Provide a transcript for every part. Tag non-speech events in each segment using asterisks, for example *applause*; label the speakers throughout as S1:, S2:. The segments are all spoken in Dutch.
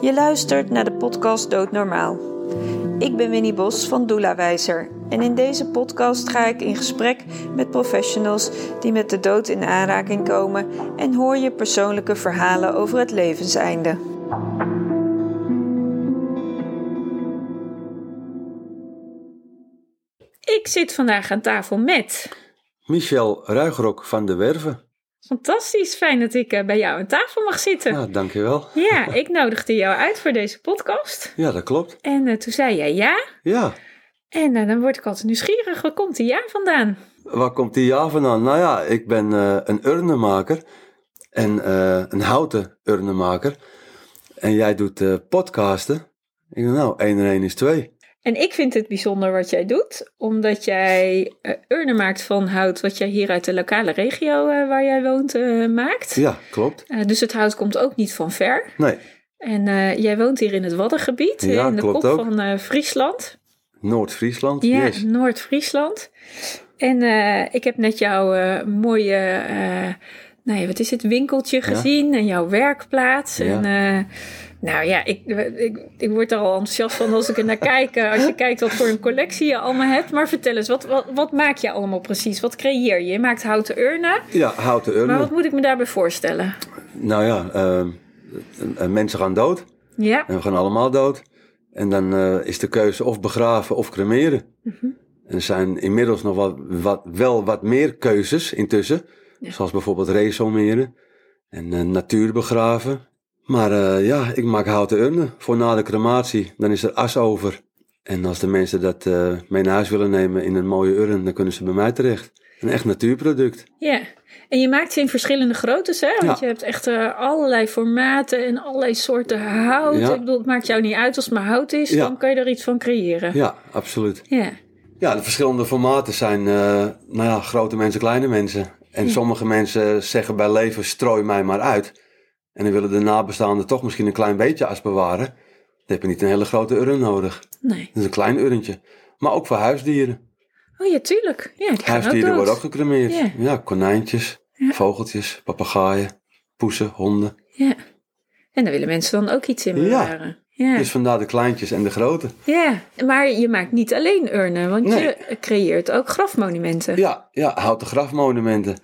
S1: Je luistert naar de podcast Doodnormaal. Ik ben Winnie Bos van Doelawijzer en in deze podcast ga ik in gesprek met professionals die met de dood in aanraking komen en hoor je persoonlijke verhalen over het levenseinde. Ik zit vandaag aan tafel met.
S2: Michel Ruigrok van de Werven.
S1: Fantastisch, fijn dat ik eh, bij jou aan tafel mag zitten.
S2: Ja, dankjewel.
S1: Ja, ik nodigde jou uit voor deze podcast.
S2: Ja, dat klopt.
S1: En eh, toen zei jij ja.
S2: Ja,
S1: En eh, dan word ik altijd nieuwsgierig. Waar komt die ja vandaan?
S2: waar komt die ja vandaan? Nou ja, ik ben eh, een urnenmaker en eh, een houten urnenmaker. En jij doet eh, podcasten. Ik denk, nou, één en één is twee.
S1: En ik vind het bijzonder wat jij doet, omdat jij eh, urnen maakt van hout wat jij hier uit de lokale regio eh, waar jij woont eh, maakt.
S2: Ja, klopt.
S1: Eh, dus het hout komt ook niet van ver.
S2: Nee,
S1: En eh, jij woont hier in het Waddengebied, eh,
S2: Ja,
S1: in de
S2: klopt
S1: kop
S2: ook.
S1: van eh, Friesland.
S2: Noord-Friesland.
S1: Ja,
S2: yes.
S1: Noord-Friesland. En eh, ik heb net jouw eh, mooie, eh, nou ja, wat is het, winkeltje gezien en jouw werkplaats.
S2: Ja.
S1: En, eh, nou ja, ik, ik, ik word er al enthousiast van als ik er naar *laughs* kijk. eh, Als je kijkt wat voor een collectie je allemaal hebt. Maar vertel eens, wat, wat, wat maak je allemaal precies? Wat creëer je? Je maakt houten urnen.
S2: Ja, houten urnen.
S1: Maar wat moet ik me daarbij voorstellen?
S2: Nou ja, eh, eh, mensen gaan dood.
S1: Ja,
S2: En we gaan allemaal dood. En dan eh, is de keuze of begraven of cremeren. En er zijn inmiddels nog wat, wat, wel wat meer keuzes intussen.
S1: Ja.
S2: Zoals bijvoorbeeld resomeren en eh, natuur begraven. Maar eh, ja, ik maak houten urnen voor na de crematie. Dan is er as over. En als de mensen dat eh, mee naar huis willen nemen in een mooie urn, dan kunnen ze bij mij terecht. Een echt natuurproduct.
S1: ja. En je maakt ze in verschillende groottes, hè? Want
S2: Ja.
S1: je hebt echt eh, allerlei formaten en allerlei soorten hout.
S2: Ja.
S1: Ik bedoel, het maakt jou niet uit als het maar hout is.
S2: Ja.
S1: Dan kan je er iets van creëren.
S2: Ja, absoluut.
S1: Ja,
S2: Ja, de verschillende formaten zijn eh, nou ja, grote mensen, kleine mensen. En sommige mensen zeggen bij leven, strooi mij maar uit. En dan willen de nabestaanden toch misschien een klein beetje as bewaren. Dan heb je niet een hele grote urn nodig.
S1: nee.
S2: Dat is een klein urntje. Maar ook voor huisdieren.
S1: Oh ja, tuurlijk. Ja, die gaan ook
S2: huisdieren
S1: dood.
S2: worden ook gecremeerd.
S1: Ja.
S2: Ja, konijntjes,
S1: Ja.
S2: vogeltjes, papegaaien, poezen, honden.
S1: Ja. En daar willen mensen dan ook iets in
S2: Ja.
S1: bewaren. Ja.
S2: Dus vandaar de kleintjes en de grote.
S1: ja, maar je maakt niet alleen urnen, want
S2: Nee.
S1: je creëert ook grafmonumenten.
S2: Ja, ja, houten grafmonumenten.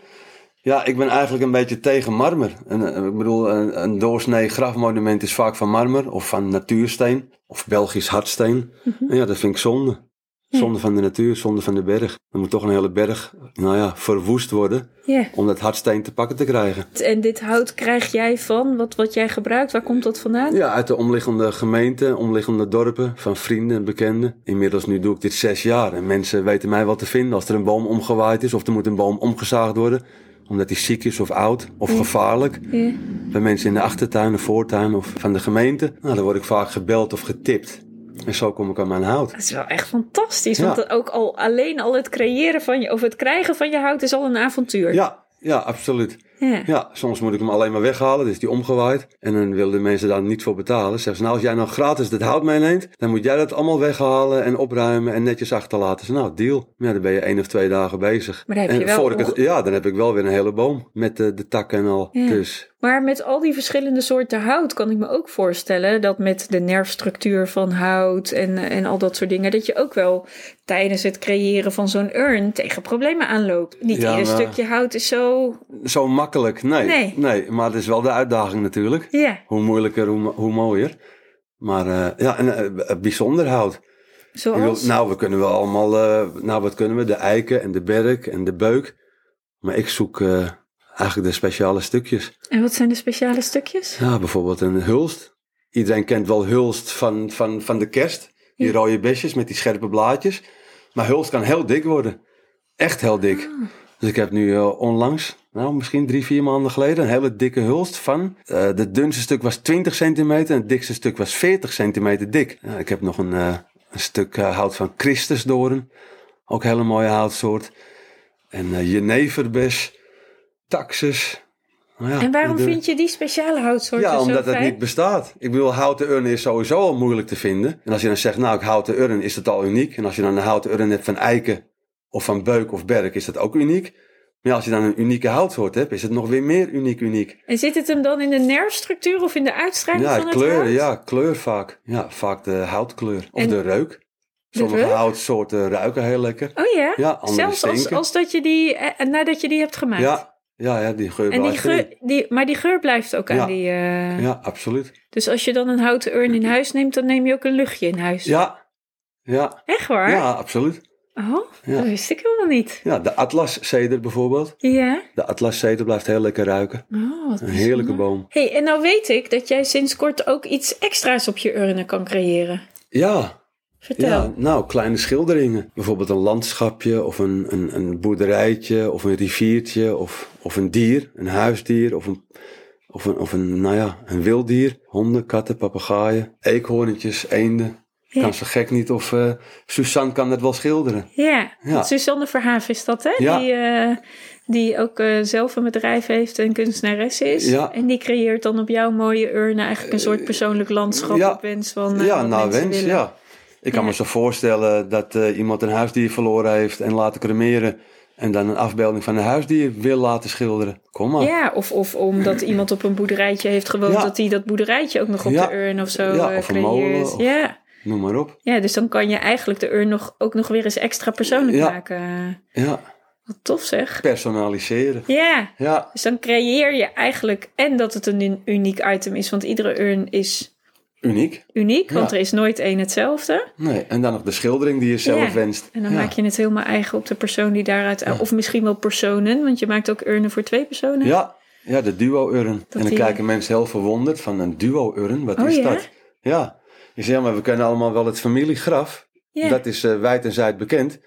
S2: Ja, ik ben eigenlijk een beetje tegen marmer. En, eh, ik bedoel, een, een doorsnee grafmonument is vaak van marmer of van natuursteen of Belgisch hardsteen. En ja, dat vind ik zonde.
S1: Ja.
S2: Zonde van de natuur, zonde van de berg. Er moet toch een hele berg, nou ja, verwoest worden
S1: Ja.
S2: om dat hardsteen te pakken te krijgen.
S1: En dit hout krijg jij van wat, wat jij gebruikt? Waar komt dat vandaan?
S2: Ja, uit de omliggende gemeenten, omliggende dorpen, van vrienden en bekenden. Inmiddels nu doe ik dit zes jaar en mensen weten mij wat te vinden als er een boom omgewaaid is of er moet een boom omgezaagd worden omdat hij ziek is of oud of gevaarlijk.
S1: Ja.
S2: Bij mensen in de achtertuin, de voortuin of van de gemeente. Nou, dan word ik vaak gebeld of getipt. En zo kom ik aan mijn hout.
S1: Dat is wel echt fantastisch,
S2: Ja.
S1: want dat ook al alleen al het creëren van je, of het krijgen van je hout is al een avontuur.
S2: Ja, ja, absoluut.
S1: Ja.
S2: Ja, soms moet ik hem alleen maar weghalen, dus die omgewaaid. En dan willen de mensen daar niet voor betalen. Zeggen ze, nou, als jij nou gratis dat hout meeneemt, dan moet jij dat allemaal weghalen en opruimen en netjes achterlaten. Ze, nou, deal. Maar Ja, dan ben je één of twee dagen bezig.
S1: Maar dan heb
S2: en
S1: je wel
S2: voor ik
S1: nog-
S2: het, Ja, dan heb ik wel weer een hele boom met de, de takken en al.
S1: Ja.
S2: Dus
S1: Maar met al die verschillende soorten hout kan ik me ook voorstellen dat met de nerfstructuur van hout en, en al dat soort dingen, dat je ook wel tijdens het creëren van zo'n urn tegen problemen aanloopt. Niet
S2: Ja,
S1: ieder
S2: maar-
S1: stukje hout is zo.
S2: zo makkelijk, nee,
S1: Nee.
S2: nee. Maar het is wel de uitdaging natuurlijk.
S1: Ja,
S2: Hoe moeilijker, hoe, mo- hoe mooier. Maar eh, ja, en eh, b- bijzonder hout. Ik
S1: zoals.
S2: bedoel, nou, we kunnen wel allemaal, eh, nou, wat kunnen we? De eiken en de berk en de beuk. Maar ik zoek eh, eigenlijk de speciale stukjes.
S1: En wat zijn de speciale stukjes?
S2: Ja, bijvoorbeeld een hulst. Iedereen kent wel hulst van, van, van de kerst. Die
S1: Ja.
S2: rode besjes met die scherpe blaadjes. Maar hulst kan heel dik worden. Echt heel dik.
S1: Ah.
S2: Dus ik heb nu eh, onlangs, nou misschien drie, vier maanden geleden, een hele dikke hulst van. eh het dunste stuk was 20 centimeter en het dikste stuk was 40 centimeter dik. Nou, ik heb nog een, eh, een stuk eh, hout van Christusdoorn. Ook een hele mooie houtsoort. En eh jeneverbes, taxus. Nou ja,
S1: en waarom
S2: de-
S1: vind je die speciale houtsoorten
S2: ja, omdat
S1: zo
S2: het
S1: fijn?
S2: niet bestaat. Ik bedoel, houten urn is sowieso al moeilijk te vinden. En als je dan zegt, nou, ik houten urn, is dat al uniek. En als je dan een houten urn hebt van eiken of van beuk of berk, is dat ook uniek. Maar ja, als je dan een unieke houtsoort hebt, is het nog weer meer uniek uniek.
S1: En zit het hem dan in de nerfstructuur of in de uitstraling
S2: Ja,
S1: van het
S2: kleur,
S1: hout?
S2: ja, kleur vaak. Ja, vaak de houtkleur of
S1: En-
S2: de reuk. Sommige
S1: reuk?
S2: houtsoorten ruiken heel lekker.
S1: Oh ja?
S2: Ja, andere
S1: Zelfs als,
S2: stinken.
S1: als dat je die, eh, nadat je die hebt gemaakt?
S2: Ja, ja, ja, die geur
S1: En die
S2: blijft erin.
S1: geur, die, maar die geur blijft ook
S2: Ja.
S1: aan die... eh,
S2: Ja, absoluut.
S1: Dus als je dan een houten urn in huis neemt, dan neem je ook een luchtje in huis.
S2: Ja, ja,
S1: Echt waar?
S2: ja, absoluut.
S1: Oh,
S2: Ja.
S1: dat wist ik helemaal niet.
S2: Ja, de atlaszeder bijvoorbeeld.
S1: Ja?
S2: De atlaszeder blijft heel lekker ruiken.
S1: Oh, wat
S2: Een heerlijke
S1: bijzonder.
S2: boom.
S1: hey, en nou weet ik dat jij sinds kort ook iets extra's op je urnen kan creëren.
S2: Ja,
S1: Vertel.
S2: ja, nou, kleine schilderingen. Bijvoorbeeld een landschapje of een, een, een boerderijtje of een riviertje of, of een dier, een huisdier of een, of een, of een, nou ja, een wilddier. Honden, katten, papegaaien, eekhoornetjes, eenden.
S1: Ja.
S2: Kan ze gek niet of eh Suzanne kan dat wel schilderen.
S1: Ja,
S2: Ja.
S1: Suzanne Verhaaf is dat, hè?
S2: Ja.
S1: Die, eh, die ook eh, zelf een bedrijf heeft en kunstenares is.
S2: Ja. Eh,
S1: En die creëert dan op jouw mooie urne eigenlijk een soort persoonlijk landschap
S2: ja.
S1: op wens van eh,
S2: ja,
S1: wat
S2: naar
S1: mensen
S2: wens,
S1: willen.
S2: ja. Ik kan
S1: Ja.
S2: me zo voorstellen dat eh, iemand een huisdier verloren heeft en laten cremeren. En dan een afbeelding van een huisdier wil laten schilderen. Kom maar.
S1: Ja, of, of omdat iemand op een boerderijtje heeft gewoond,
S2: Ja.
S1: dat hij dat boerderijtje ook nog op
S2: Ja.
S1: de urn of zo
S2: Ja,
S1: eh,
S2: of een
S1: creëert.
S2: molen, of-
S1: Ja.
S2: Noem maar op.
S1: ja, dus dan kan je eigenlijk de urn nog, ook nog weer eens extra persoonlijk
S2: Ja.
S1: maken.
S2: Ja,
S1: Wat tof zeg.
S2: personaliseren.
S1: Ja,
S2: Ja,
S1: dus dan creëer je eigenlijk en dat het een un- uniek item is, want iedere urn is
S2: uniek.
S1: uniek, want
S2: Ja.
S1: er is nooit één hetzelfde.
S2: Nee, en dan nog de schildering die je zelf
S1: Ja,
S2: wenst.
S1: En dan
S2: ja.
S1: maak je het helemaal eigen op de persoon die daaruit, of misschien wel personen, want je maakt ook urnen voor twee personen.
S2: Ja, ja de duo-urn. En dan
S1: die-
S2: kijken mensen heel verwonderd van een duo-urn, wat
S1: Oh,
S2: is
S1: ja?
S2: dat? Ja, ik zeg ja, maar we kennen allemaal wel het familiegraf.
S1: Ja.
S2: Dat is eh, wijd en zijd bekend.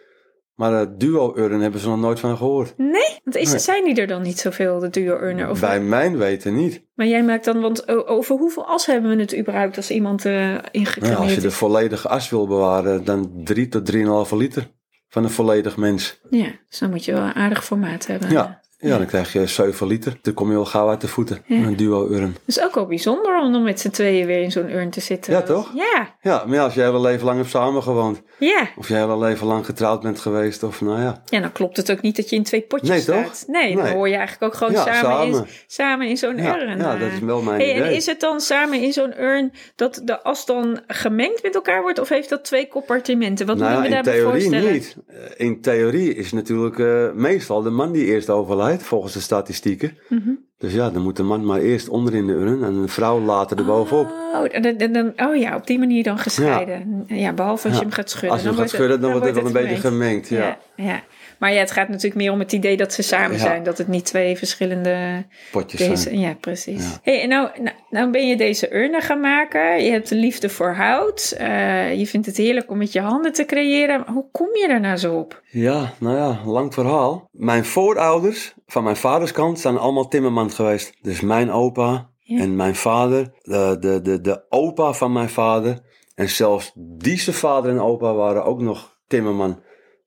S2: Maar de duo-urn hebben ze nog nooit van gehoord.
S1: Nee, want is,
S2: Nee.
S1: zijn die er dan niet zoveel, de duo-urner? Of
S2: Bij mijn weten niet.
S1: Maar jij maakt dan, want o- over hoeveel as hebben we het überhaupt als iemand eh
S2: Nou, als je
S1: ingecremeerd
S2: de
S1: is?
S2: volledige as wil bewaren, dan 3 tot 3,5 liter van een volledig mens.
S1: Ja, dus dan moet je wel een aardig formaat hebben.
S2: Ja, ja dan krijg je 7 liter. Dan kom je al gauw uit de voeten.
S1: Ja.
S2: Een duo-urn.
S1: Dat is ook wel bijzonder om dan met z'n tweeën weer in zo'n urn te zitten.
S2: Ja,
S1: Dat-
S2: toch?
S1: eh, Ja,
S2: Ja, maar ja, als je hele leven lang hebt samengewoond.
S1: ja.
S2: Of je hele leven lang getrouwd bent geweest. Of nou ja.
S1: Ja, dan klopt het ook niet dat je in twee potjes
S2: Nee, toch?
S1: staat. Nee, dan
S2: Nee.
S1: hoor je eigenlijk ook gewoon
S2: Ja,
S1: samen, In,
S2: samen.
S1: samen in zo'n
S2: Ja,
S1: urn.
S2: ja,
S1: eh.
S2: dat is wel mijn
S1: Hey, en
S2: idee.
S1: is het dan samen in zo'n urn dat de as dan gemengd met elkaar wordt? Of heeft dat twee compartimenten? Wat
S2: nou ja,
S1: moeten we
S2: in
S1: daarbij
S2: theorie
S1: voorstellen?
S2: niet. Eh, In theorie is natuurlijk eh, meestal de man die eerst overlijdt, volgens de statistieken.
S1: Mhm.
S2: Dus ja, dan moet de man maar eerst onderin de urn en een vrouw later erbovenop.
S1: Oh, en dan, dan- dan- oh ja, op die manier dan gescheiden. Ja, behalve als je
S2: Ja.
S1: hem gaat schudden.
S2: Als je hem gaat schudden, dan wordt het wel een beetje gemengd. Ja.
S1: Ja, ja. Maar ja, het gaat natuurlijk meer om het idee dat ze samen
S2: Ja.
S1: zijn. Dat het niet twee verschillende...
S2: Potjes zijn.
S1: Deze, ja, precies.
S2: Ja.
S1: Hey, en nou, nou, nou ben je deze urnen gaan maken. Je hebt een liefde voor hout. Eh, je vindt het heerlijk om met je handen te creëren. Maar hoe kom je daar nou zo op?
S2: Ja, nou ja, lang verhaal. Mijn voorouders van mijn vaders kant zijn allemaal timmerman geweest. Dus mijn opa
S1: Ja.
S2: en mijn vader, de, de, de, de opa van mijn vader. En zelfs die zijn vader en opa waren ook nog timmerman.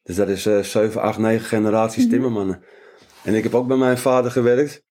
S2: Dus dat is eh 7, 8, 9 generaties
S1: Mhm.
S2: timmermannen. En ik heb ook bij mijn vader gewerkt.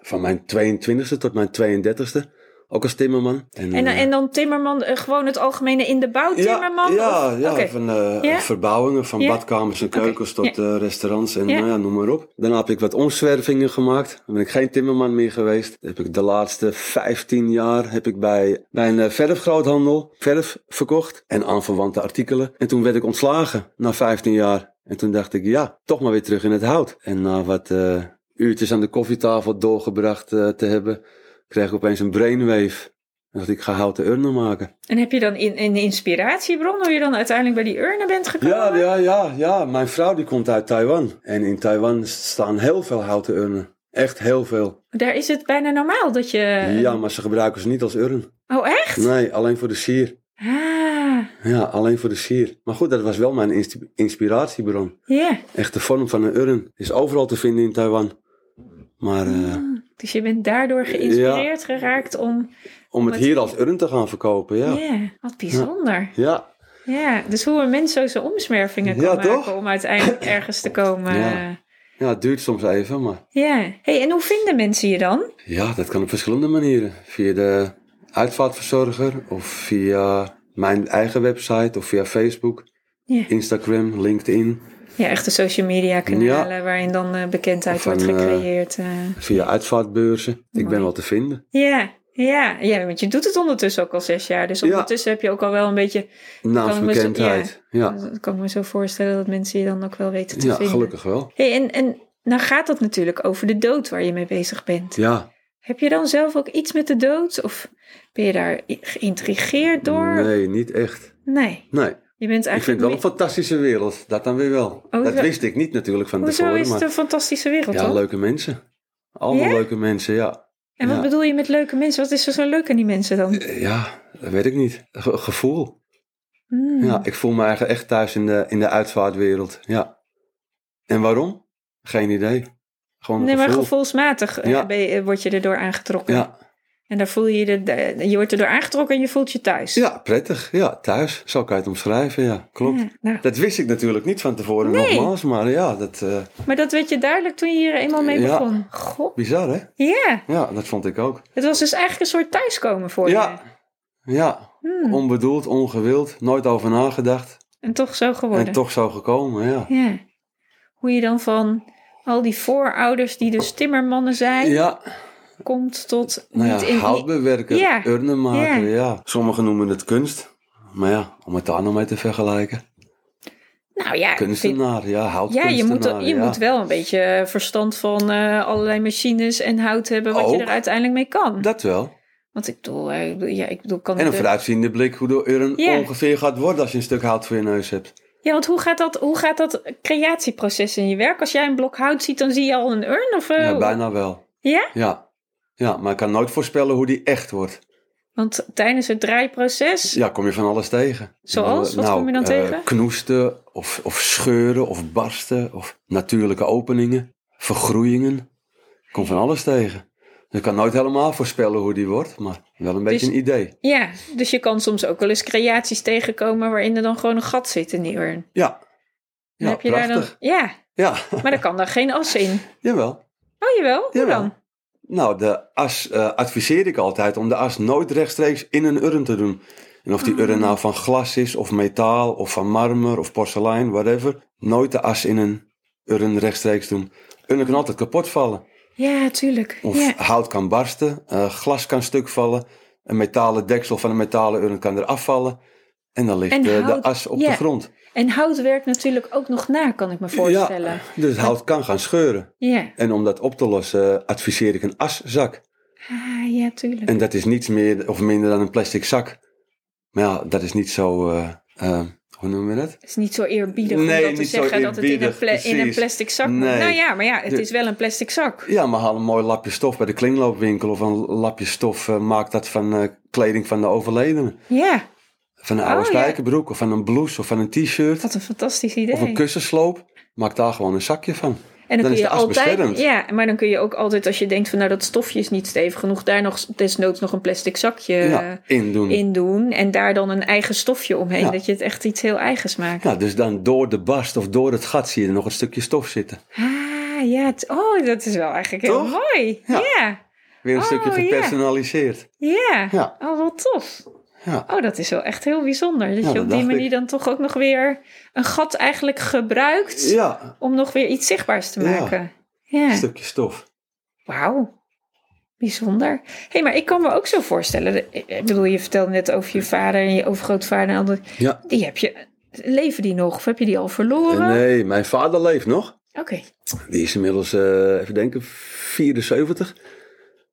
S2: Van mijn 22e tot mijn 32e. Ook als timmerman.
S1: En, dan-
S2: eh,
S1: en dan timmerman, eh, gewoon het algemene in de bouw timmerman?
S2: ja,
S1: Of-
S2: ja
S1: Oké.
S2: van eh,
S1: Ja.
S2: verbouwingen van
S1: Ja.
S2: badkamers en
S1: Oké,
S2: keukens tot eh, restaurants en
S1: Ja.
S2: nou ja, noem maar op. Daarna heb ik wat omzwervingen gemaakt. Dan ben ik geen timmerman meer geweest. Dan heb ik de laatste 15 jaar heb ik bij, bij een eh, verfgroothandel verf verkocht en aanverwante artikelen. En toen werd ik ontslagen na 15 jaar. En toen dacht ik, ja, toch maar weer terug in het hout. En na wat eh, uurtjes aan de koffietafel doorgebracht eh, te hebben, kreeg ik opeens een brainwave. En dacht ik, ik ga houten urnen maken.
S1: En heb je dan in, een inspiratiebron hoe je dan uiteindelijk bij die urnen bent gekomen?
S2: Ja, ja, ja, ja. Mijn vrouw die komt uit Taiwan. En in Taiwan staan heel veel houten urnen. Echt heel veel.
S1: Daar is het bijna normaal dat je...
S2: Ja, maar ze gebruiken ze niet als urn.
S1: Oh, echt?
S2: Nee, alleen voor de sier.
S1: Ah,
S2: Ja, alleen voor de sier. Maar goed, dat was wel mijn inst- inspiratiebron.
S1: ja.
S2: Echt de vorm van een urn. Is overal te vinden in Taiwan. Maar eh,
S1: Dus je bent daardoor geïnspireerd geraakt om...
S2: om het
S1: Maar-
S2: hier als urn te gaan verkopen,
S1: Ja,
S2: ja.
S1: wat bijzonder.
S2: Ja,
S1: Ja. dus hoe een mens zo zijn omsmervingen kan
S2: Ja,
S1: maken
S2: toch? *coughs*
S1: om uiteindelijk ergens te komen. Ja.
S2: Ja. ja het duurt soms even, maar...
S1: Hey, en hoe vinden mensen je dan?
S2: Ja, dat kan op verschillende manieren. Via de uitvaartverzorger of via mijn eigen website of via Facebook,
S1: Ja.
S2: Instagram, LinkedIn.
S1: Ja, echte social media kanalen waarin dan eh, bekendheid
S2: Van,
S1: wordt
S2: eh,
S1: gecreëerd. eh.
S2: Via uitvaartbeurzen. Ik ben wel te vinden.
S1: ja, ja, ja, want je doet het ondertussen ook al zes jaar. Dus
S2: Ja.
S1: ondertussen heb je ook al wel een beetje...
S2: Naamsbekendheid. Ja, ja.
S1: Dat kan ik me zo voorstellen dat mensen je dan ook wel weten te vinden.
S2: gelukkig wel.
S1: Hey, en, en nou gaat dat natuurlijk over de dood waar je mee bezig bent.
S2: Ja,
S1: Heb je dan zelf ook iets met de dood? Of ben je daar i- geïntrigeerd door?
S2: nee, niet echt.
S1: Nee,
S2: Nee,
S1: je bent
S2: ik vind het
S1: eigenlijk...
S2: wel
S1: meer-
S2: een fantastische wereld. Dat dan weer wel. dat
S1: wel-
S2: wist ik niet natuurlijk van
S1: Hoezo
S2: tevoren.
S1: is het
S2: maar
S1: een fantastische wereld,
S2: ja,
S1: hoor.
S2: leuke mensen. Allemaal
S1: Ja?
S2: leuke mensen, ja.
S1: En wat
S2: ja. Eh,
S1: bedoel je met leuke mensen? Wat is er zo leuk aan die mensen dan?
S2: Ja, dat weet ik niet. Ge- gevoel.
S1: Hmm.
S2: Ja, ik voel me eigenlijk echt thuis in de, in de uitvaartwereld. Ja. En waarom? Geen idee. Gewoon een
S1: nee, maar
S2: gevoel.
S1: gevoelsmatig eh,
S2: Ja.
S1: ben je- eh, word je erdoor aangetrokken.
S2: Ja.
S1: En daar voel je je, de- je wordt erdoor aangetrokken en je voelt je thuis.
S2: ja, prettig. Ja, thuis. Zo kan je het omschrijven, ja. Klopt.
S1: Ja, nou,
S2: Dat wist ik natuurlijk niet van tevoren
S1: Nee.
S2: nogmaals, maar ja, dat eh
S1: maar dat werd je duidelijk toen je hier eenmaal mee
S2: Ja.
S1: begon. Goh.
S2: bizar hè?
S1: Ja,
S2: Ja, dat vond ik ook.
S1: het was dus eigenlijk een soort thuiskomen voor je.
S2: Ja, ja.
S1: Hmm.
S2: onbedoeld, ongewild, nooit over nagedacht.
S1: En toch zo geworden.
S2: En toch zo gekomen, ja.
S1: Ja. Hoe je dan van al die voorouders die dus timmermannen zijn,
S2: Ja,
S1: komt tot
S2: nou
S1: niet
S2: ja,
S1: in...
S2: houtbewerker,
S1: Ja.
S2: urnen maken,
S1: Ja.
S2: ja. Sommigen noemen het kunst. Maar ja, om het daar nou mee te vergelijken.
S1: Nou ja, ik vind-
S2: Kunstenaar, ja,
S1: ja
S2: houtkunstenaar.
S1: je, moet, je
S2: ja.
S1: moet wel een beetje eh, verstand van eh, allerlei machines en hout hebben wat je
S2: Ook.
S1: er uiteindelijk mee kan.
S2: Dat wel.
S1: Want ik bedoel, eh, ik bedoel, ja, ik bedoel, kan
S2: En
S1: ik
S2: een
S1: de-
S2: vooruitziende blik hoe de urn
S1: Ja.
S2: ongeveer gaat worden als je een stuk hout voor je neus hebt.
S1: Ja, want hoe gaat, dat, hoe gaat dat creatieproces in je werk? Als jij een blok hout ziet, dan zie je al een urn of... eh,
S2: Ja,
S1: hoe-
S2: bijna wel.
S1: Ja?
S2: Ja. ja, maar ik kan nooit voorspellen hoe die echt wordt.
S1: Want tijdens het draaiproces...
S2: Ja, kom je van alles tegen.
S1: Zoals? Wat kom je dan
S2: eh,
S1: tegen?
S2: Knoesten of, of scheuren of barsten of natuurlijke openingen, vergroeiingen. Ik kom van alles tegen. Je kan nooit helemaal voorspellen hoe die wordt, maar wel een beetje
S1: Dus-
S2: een idee.
S1: Ja, dus je kan soms ook wel eens creaties tegenkomen waarin er dan gewoon een gat zit in die urn.
S2: Ja,
S1: Dan
S2: ja
S1: heb je
S2: prachtig.
S1: daar dan, ja,
S2: Ja, *laughs*
S1: maar er kan daar geen as in.
S2: jawel.
S1: Oh, jawel. Hoe
S2: Jawel.
S1: dan?
S2: Nou, de as eh, adviseer ik altijd om de as nooit rechtstreeks in een urn te doen. En of die
S1: Mm.
S2: urn nou van glas is, of metaal, of van marmer, of porselein, whatever. Nooit de as in een urn rechtstreeks doen. Urnen kan altijd kapot vallen.
S1: Ja, tuurlijk.
S2: Of
S1: Ja.
S2: hout kan barsten, eh, glas kan stuk vallen, een metalen deksel van een metalen urn kan eraf vallen. En dan ligt
S1: En
S2: eh,
S1: hout-
S2: de as op
S1: ja,
S2: de grond.
S1: En hout werkt natuurlijk ook nog na, kan ik me voorstellen.
S2: Ja,
S1: Ja.
S2: dus hout kan gaan scheuren. En om dat op te lossen eh, adviseer ik een aszak.
S1: Ah, ja, tuurlijk.
S2: En dat is niets meer of minder dan een plastic zak. Maar ja, dat is niet zo, eh, eh, hoe noemen we dat?
S1: Het is niet zo eerbiedig
S2: Nee,
S1: om dat te
S2: niet zo
S1: zeggen dat het in een,
S2: eerbiedig,
S1: pla- in een
S2: precies.
S1: plastic zak moet.
S2: Nee.
S1: Nou ja, maar ja, het
S2: De-
S1: is wel een plastic zak.
S2: Ja, maar haal een mooi lapje stof bij de kringloopwinkel of een lapje stof. eh, maak dat van eh, kleding van de overledene.
S1: Ja,
S2: Van een oude
S1: Oh, ja.
S2: spijkerbroek of van een blouse of van een t-shirt.
S1: wat een fantastisch idee.
S2: Of een kussensloop. Maak daar gewoon een zakje van.
S1: En dan,
S2: Dan
S1: kun
S2: is
S1: je
S2: de as
S1: altijd,
S2: beschermd.
S1: ja, maar dan kun je ook altijd als je denkt van nou dat stofje is niet stevig genoeg, daar nog desnoods nog een plastic zakje
S2: ja, indoen.
S1: eh, in doen en daar dan een eigen stofje omheen,
S2: Ja.
S1: dat je het echt iets heel eigens maakt.
S2: Ja, dus dan door de barst of door het gat zie je er nog een stukje stof zitten.
S1: Ah ja, het- oh dat is wel eigenlijk heel
S2: Toch?
S1: mooi. Ja.
S2: Ja.
S1: ja,
S2: Weer een
S1: Oh,
S2: stukje
S1: ja.
S2: gepersonaliseerd. Ja.
S1: oh wat tof.
S2: Ja.
S1: Oh dat is wel echt heel bijzonder dat
S2: Ja,
S1: je
S2: dat
S1: op die
S2: dacht
S1: manier
S2: ik.
S1: dan toch ook nog weer een gat eigenlijk gebruikt
S2: Ja,
S1: om nog weer iets zichtbaars te
S2: Ja. Dus
S1: maken.
S2: een
S1: Ja.
S2: stukje stof.
S1: Wauw. Bijzonder. Hé, hey, maar ik kan me ook zo voorstellen. dat- Ik bedoel, je vertelde net over je vader en je overgrootvader en al dat.
S2: Ja.
S1: Die heb je. Leven die nog? Of heb je die al verloren?
S2: Nee, mijn vader leeft nog.
S1: Oké.
S2: Die is inmiddels, eh, even denken, 74.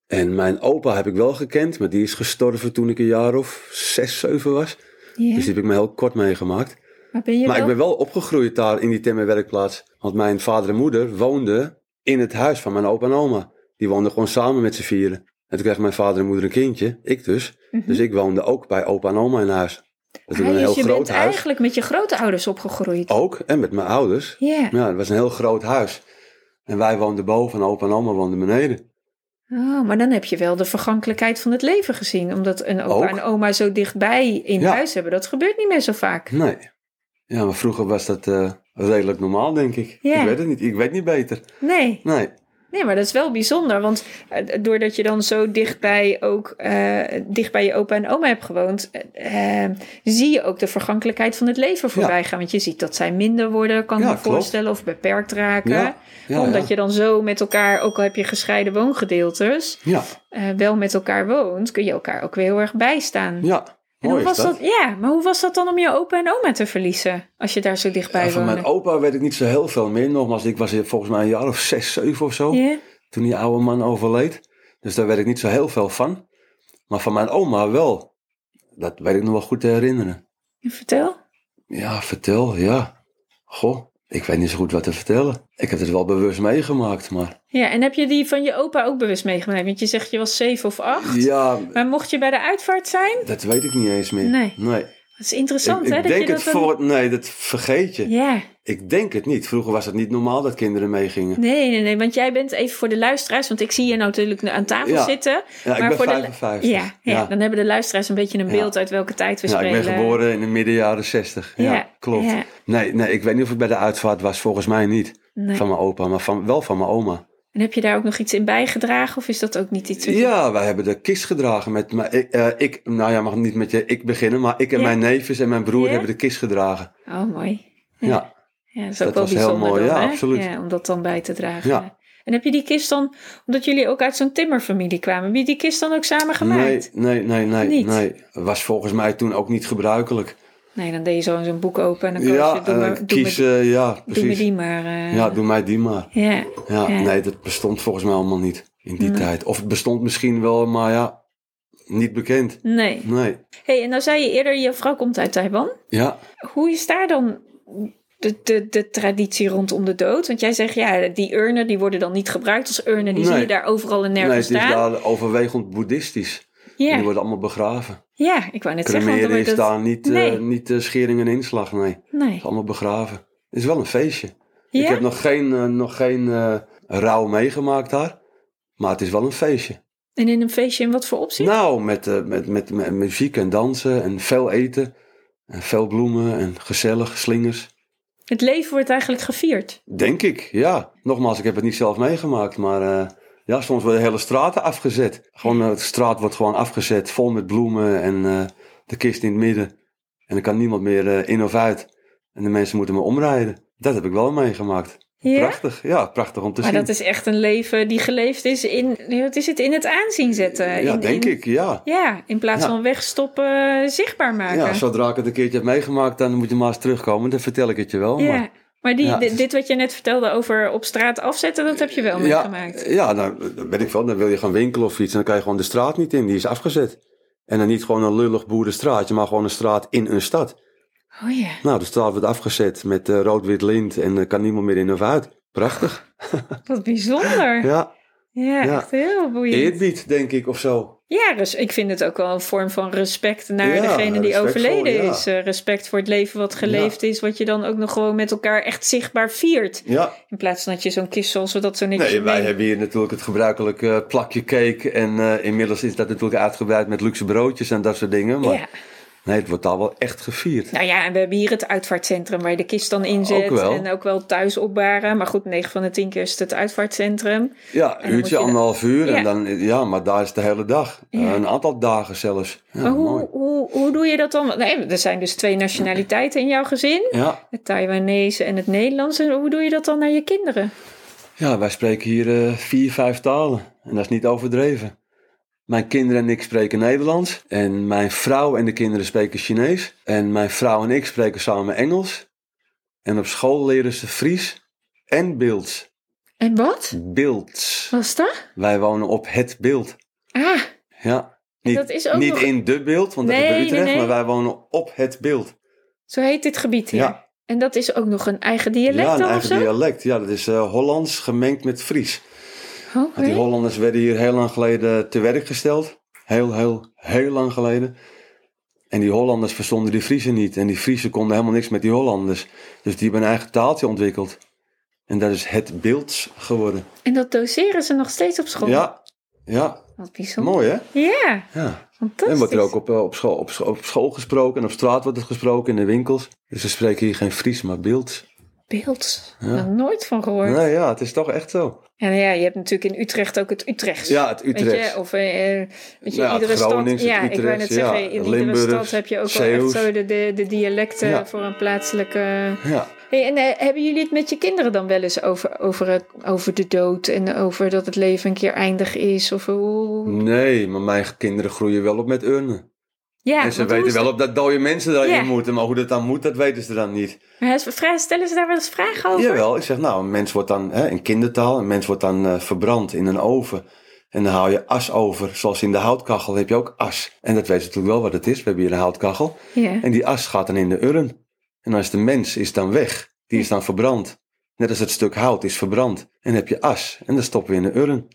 S2: En mijn opa heb ik wel gekend, maar die is gestorven toen ik een jaar of 6, 7 was.
S1: Ja.
S2: Dus die heb ik me heel kort meegemaakt.
S1: Maar ben je
S2: Maar ik
S1: wel?
S2: ben wel opgegroeid daar in die timmerwerkplaats. Want mijn vader en moeder woonden in het huis van mijn opa en oma. Die woonden gewoon samen met z'n vieren. En toen kreeg mijn vader en moeder een kindje, ik dus.
S1: Mhm.
S2: Dus ik woonde ook bij opa en oma in huis. Dat was
S1: Ah,
S2: een heel
S1: dus je
S2: groot
S1: bent
S2: huis. Oh.
S1: eigenlijk met je grootouders opgegroeid.
S2: Ook, en met mijn ouders.
S1: Ja.
S2: Ja, het was een heel groot huis. En wij woonden boven en opa en oma woonden beneden.
S1: Oh, maar dan heb je wel de vergankelijkheid van het leven gezien. Omdat een opa
S2: Ook.
S1: en oma zo dichtbij in
S2: Ja.
S1: huis hebben. Dat gebeurt niet meer zo vaak.
S2: Nee. Ja, maar vroeger was dat eh, redelijk normaal, denk ik.
S1: Ja.
S2: Ik weet het niet. Ik weet niet beter.
S1: Nee.
S2: Nee.
S1: Nee, maar dat is wel bijzonder. Want eh, doordat je dan zo dichtbij ook eh, dicht bij je opa en oma hebt gewoond, eh, eh, zie je ook de vergankelijkheid van het leven voorbij gaan. Want je ziet dat zij minder worden, kan ik
S2: Ja,
S1: me
S2: klopt.
S1: voorstellen, of beperkt raken.
S2: Ja, ja,
S1: omdat
S2: ja.
S1: je dan zo met elkaar, ook al heb je gescheiden woongedeeltes,
S2: Ja,
S1: eh, wel met elkaar woont, kun je elkaar ook weer heel erg bijstaan.
S2: ja.
S1: En hoe
S2: Mooi
S1: was
S2: is
S1: dat? Ja, maar hoe was dat dan om je opa en oma te verliezen als je daar zo dichtbij
S2: Ja, van
S1: woonde?
S2: mijn opa weet ik niet zo heel veel meer. Nogmaals, ik was hier volgens mij een jaar of zes, zeven of zo.
S1: Ja?
S2: Toen die oude man overleed. Dus daar weet ik niet zo heel veel van. Maar van mijn oma wel. Dat weet ik nog wel goed te herinneren.
S1: Vertel.
S2: Ja, vertel, ja. Goh, ik weet niet zo goed wat te vertellen. Ik heb het wel bewust meegemaakt, maar...
S1: Ja, en heb je die van je opa ook bewust meegemaakt? Want je zegt je was zeven of acht.
S2: Ja,
S1: Maar mocht je bij de uitvaart zijn?
S2: dat weet ik niet eens meer.
S1: Nee.
S2: nee.
S1: Dat is interessant,
S2: ik,
S1: hè?
S2: ik
S1: dat
S2: denk
S1: je dat
S2: het
S1: dan-
S2: voor... Nee, dat vergeet je.
S1: Ja,
S2: Ik denk het niet. Vroeger was het niet normaal dat kinderen meegingen.
S1: nee, nee, nee. Want jij bent even voor de luisteraars, want ik zie je nou natuurlijk aan tafel
S2: Ja.
S1: zitten.
S2: Ja,
S1: maar
S2: ik ben
S1: voor de-
S2: 55.
S1: Ja, ja, dan hebben de luisteraars een beetje een
S2: Ja.
S1: beeld uit welke tijd we
S2: Ja, ik
S1: spelen.
S2: ben geboren in de midden jaren 60. Ja,
S1: Ja,
S2: klopt.
S1: ja.
S2: Nee, nee, ik weet niet of ik bij de uitvaart was. Volgens mij niet.
S1: Nee.
S2: Van mijn opa, maar van, wel van mijn oma.
S1: En heb je daar ook nog iets in bijgedragen of is dat ook niet iets? wat je-
S2: Ja, wij hebben de kist gedragen. Met mijn, ik, eh, ik, nou ja, mag niet met je ik beginnen, maar ik en
S1: Ja.
S2: mijn neefjes en mijn broer
S1: Ja.
S2: hebben de kist gedragen.
S1: Oh, mooi.
S2: Ja.
S1: Ja, dat is
S2: Dat
S1: ook wel
S2: was heel
S1: bijzonder
S2: mooi,
S1: dan,
S2: ja,
S1: hè?
S2: absoluut.
S1: Ja, om dat dan bij te dragen.
S2: Ja.
S1: En heb je die kist dan, omdat jullie ook uit zo'n timmerfamilie kwamen, heb je die kist dan ook samen
S2: Nee,
S1: gemaakt?
S2: nee, nee, nee,
S1: Niet?
S2: nee. Was volgens mij toen ook niet gebruikelijk.
S1: Nee, dan deed je zo zo'n boek open en dan koos je,
S2: Ja,
S1: doe,
S2: eh,
S1: maar, doe, me,
S2: kiezen, ja,
S1: doe me
S2: precies.
S1: die maar. eh.
S2: Ja, doe mij die maar.
S1: ja.
S2: Ja,
S1: Ja.
S2: nee, dat bestond volgens mij allemaal niet in die
S1: Nee.
S2: tijd. Of het bestond misschien wel, maar ja, niet bekend.
S1: Nee.
S2: Nee.
S1: hey, en nou zei je eerder, je vrouw komt uit Taiwan.
S2: Ja,
S1: Hoe is daar dan de, de, de traditie rondom de dood? Want jij zegt, ja, die urnen die worden dan niet gebruikt als urnen. Die
S2: Nee.
S1: zie je daar overal en
S2: nee,
S1: nergens
S2: het is
S1: staan.
S2: daar overwegend boeddhistisch. En
S1: ja.
S2: die worden allemaal begraven.
S1: ja, ik wou net zeggen. want
S2: Cremeren
S1: dan wordt
S2: is
S1: het-
S2: daar niet, eh,
S1: Nee.
S2: niet eh, schering en inslag, nee. Het
S1: Nee.
S2: is allemaal begraven. Het is wel een feestje. Ik
S1: Ja?
S2: heb nog geen, eh, nog geen eh, rouw meegemaakt daar. Maar het is wel een feestje.
S1: En in een feestje in wat voor opzicht?
S2: Nou, met, eh, met, met, met muziek en dansen en veel eten. En veel bloemen en gezellig, slingers.
S1: Het leven wordt eigenlijk gevierd.
S2: Denk ik, ja. Nogmaals, ik heb het niet zelf meegemaakt, maar eh, ja, soms worden hele straten afgezet. Gewoon, eh, de straat wordt gewoon afgezet, vol met bloemen en eh, de kist in het midden. En er kan niemand meer eh, in of uit. En de mensen moeten me omrijden. Dat heb ik wel meegemaakt.
S1: Ja?
S2: Prachtig, ja, prachtig om te
S1: Maar
S2: zien.
S1: dat is echt een leven die geleefd is in, wat is het, in het aanzien zetten.
S2: ja,
S1: in,
S2: denk
S1: in-
S2: ik, ja.
S1: Ja, in plaats
S2: Ja.
S1: van wegstoppen, eh, zichtbaar maken.
S2: Ja, zodra ik het een keertje heb meegemaakt, dan moet je maar eens terugkomen. Dan vertel ik het je wel.
S1: Ja,
S2: maar-
S1: maar die,
S2: Ja, dus-
S1: di-
S2: het is-
S1: dit, wat je net vertelde over op straat afzetten, dat heb je wel meegemaakt.
S2: Ja, ja nou, dat weet ik wel. Dan wil je gaan winkelen of iets. En dan kan je gewoon de straat niet in. Die is afgezet. En dan niet gewoon een lullig boerenstraatje, maar gewoon een straat in een stad.
S1: Oh ja.
S2: Nou, de straat wordt afgezet met eh, rood-wit lint en er kan niemand meer in of uit. Prachtig.
S1: Wat bijzonder. Ja,
S2: Ja, Ja.
S1: echt heel boeiend.
S2: eerbied, denk ik, of zo.
S1: Ja, dus ik vind het ook wel een vorm van respect naar
S2: Ja,
S1: degene die
S2: respectvol,
S1: overleden
S2: ja.
S1: is. Eh, respect voor het leven wat geleefd is, wat je dan ook nog gewoon met elkaar echt zichtbaar viert.
S2: Ja.
S1: In plaats van dat je zo'n kist zoals we dat zo niks
S2: Nee, wij
S1: mee-
S2: hebben hier natuurlijk het gebruikelijke eh, plakje cake. En eh, inmiddels is dat natuurlijk uitgebreid met luxe broodjes en dat soort dingen. Maar
S1: Ja.
S2: nee, het wordt daar wel echt gevierd.
S1: Nou ja, en we hebben hier het uitvaartcentrum waar je de kist dan inzet.
S2: Ook wel.
S1: En ook wel thuis opbaren. Maar goed, 9 van de 10 keer is het het uitvaartcentrum.
S2: Ja, een
S1: dan moet je
S2: uurtje,
S1: de-
S2: anderhalf uur.
S1: Ja.
S2: En dan, ja, maar daar is de hele dag.
S1: Ja.
S2: Een aantal dagen zelfs. Ja,
S1: maar
S2: mooi.
S1: hoe, hoe, hoe doe je dat dan? Want, Nee, er zijn dus twee nationaliteiten in jouw gezin.
S2: Ja.
S1: Het Taiwanese en het Nederlandse. Hoe doe je dat dan naar je kinderen?
S2: ja, wij spreken hier eh, vier, vijf talen. En dat is niet overdreven. Mijn kinderen en ik spreken Nederlands. En mijn vrouw en de kinderen spreken Chinees. En mijn vrouw en ik spreken samen Engels. En op school leren ze Fries en Beelds.
S1: En wat?
S2: Beelds.
S1: Was dat?
S2: Wij wonen op het beeld.
S1: Ah,
S2: Ja. Niet,
S1: dat is ook
S2: niet
S1: nog-
S2: in de beeld, want dat is bij
S1: Nee, nee,
S2: Utrecht.
S1: nee.
S2: Maar wij wonen op het beeld.
S1: zo heet dit gebied hier.
S2: Ja.
S1: En dat is ook nog een eigen dialect
S2: ja,
S1: dan
S2: een
S1: of
S2: eigen
S1: zo?
S2: dialect. Ja, dat is eh, Hollands gemengd met Fries.
S1: Oh,
S2: Want die
S1: hè?
S2: Hollanders werden hier heel lang geleden te werk gesteld. Heel, heel, heel lang geleden. En die Hollanders verstonden die Friesen niet. En die Friesen konden helemaal niks met die Hollanders. Dus die hebben een eigen taaltje ontwikkeld. En dat is het Beelds geworden.
S1: En dat doseren ze nog steeds op school?
S2: Ja, ja.
S1: Wat bijzonder.
S2: mooi hè?
S1: Ja,
S2: Ja.
S1: fantastisch.
S2: En wordt er ook op, eh, op, school, op, scho- op school gesproken en op straat wordt het gesproken in de winkels. Dus ze spreken hier geen Fries, maar Beelds.
S1: beeld.
S2: Ja.
S1: Nog nooit van gehoord.
S2: Nou ja, het is toch echt zo.
S1: En nou ja, je hebt natuurlijk in Utrecht ook het Utrechts.
S2: Ja, het
S1: Weet
S2: Utrecht.
S1: je, of eh, eh, weet je,
S2: Ja, het
S1: iedere stad.
S2: Gronings, het
S1: ja, ik wou net
S2: Utrechts,
S1: zeggen,
S2: ja,
S1: in iedere
S2: Limburgs,
S1: stad heb je ook wel echt
S2: Zeeuws.
S1: zo de, de, de dialecten
S2: Ja.
S1: voor een plaatselijke.
S2: Ja.
S1: Hey, en eh, hebben jullie het met je kinderen dan wel eens over, over, eh, over de dood en over dat het leven een keer eindig is? Of hoe?
S2: Nee, maar mijn kinderen groeien wel op met urnen.
S1: Ja,
S2: en ze
S1: want hoe
S2: weten
S1: is
S2: wel op dat dode mensen daarin
S1: Ja.
S2: moeten, maar hoe dat dan moet, dat weten ze dan niet.
S1: Maar hij is vrij- Stellen ze daar wel eens vragen over?
S2: Jawel, ik zeg nou, een mens wordt dan hè, in kindertaal, een mens wordt dan eh, verbrand in een oven. En dan haal je as over, zoals in de houtkachel heb je ook as. En dat weten ze natuurlijk wel wat het is, we hebben hier een houtkachel.
S1: Ja.
S2: En die as gaat dan in de urn. En dan is de mens is dan weg, die is dan verbrand. Net als het stuk hout is verbrand. En dan heb je as en dat stoppen we in de urn.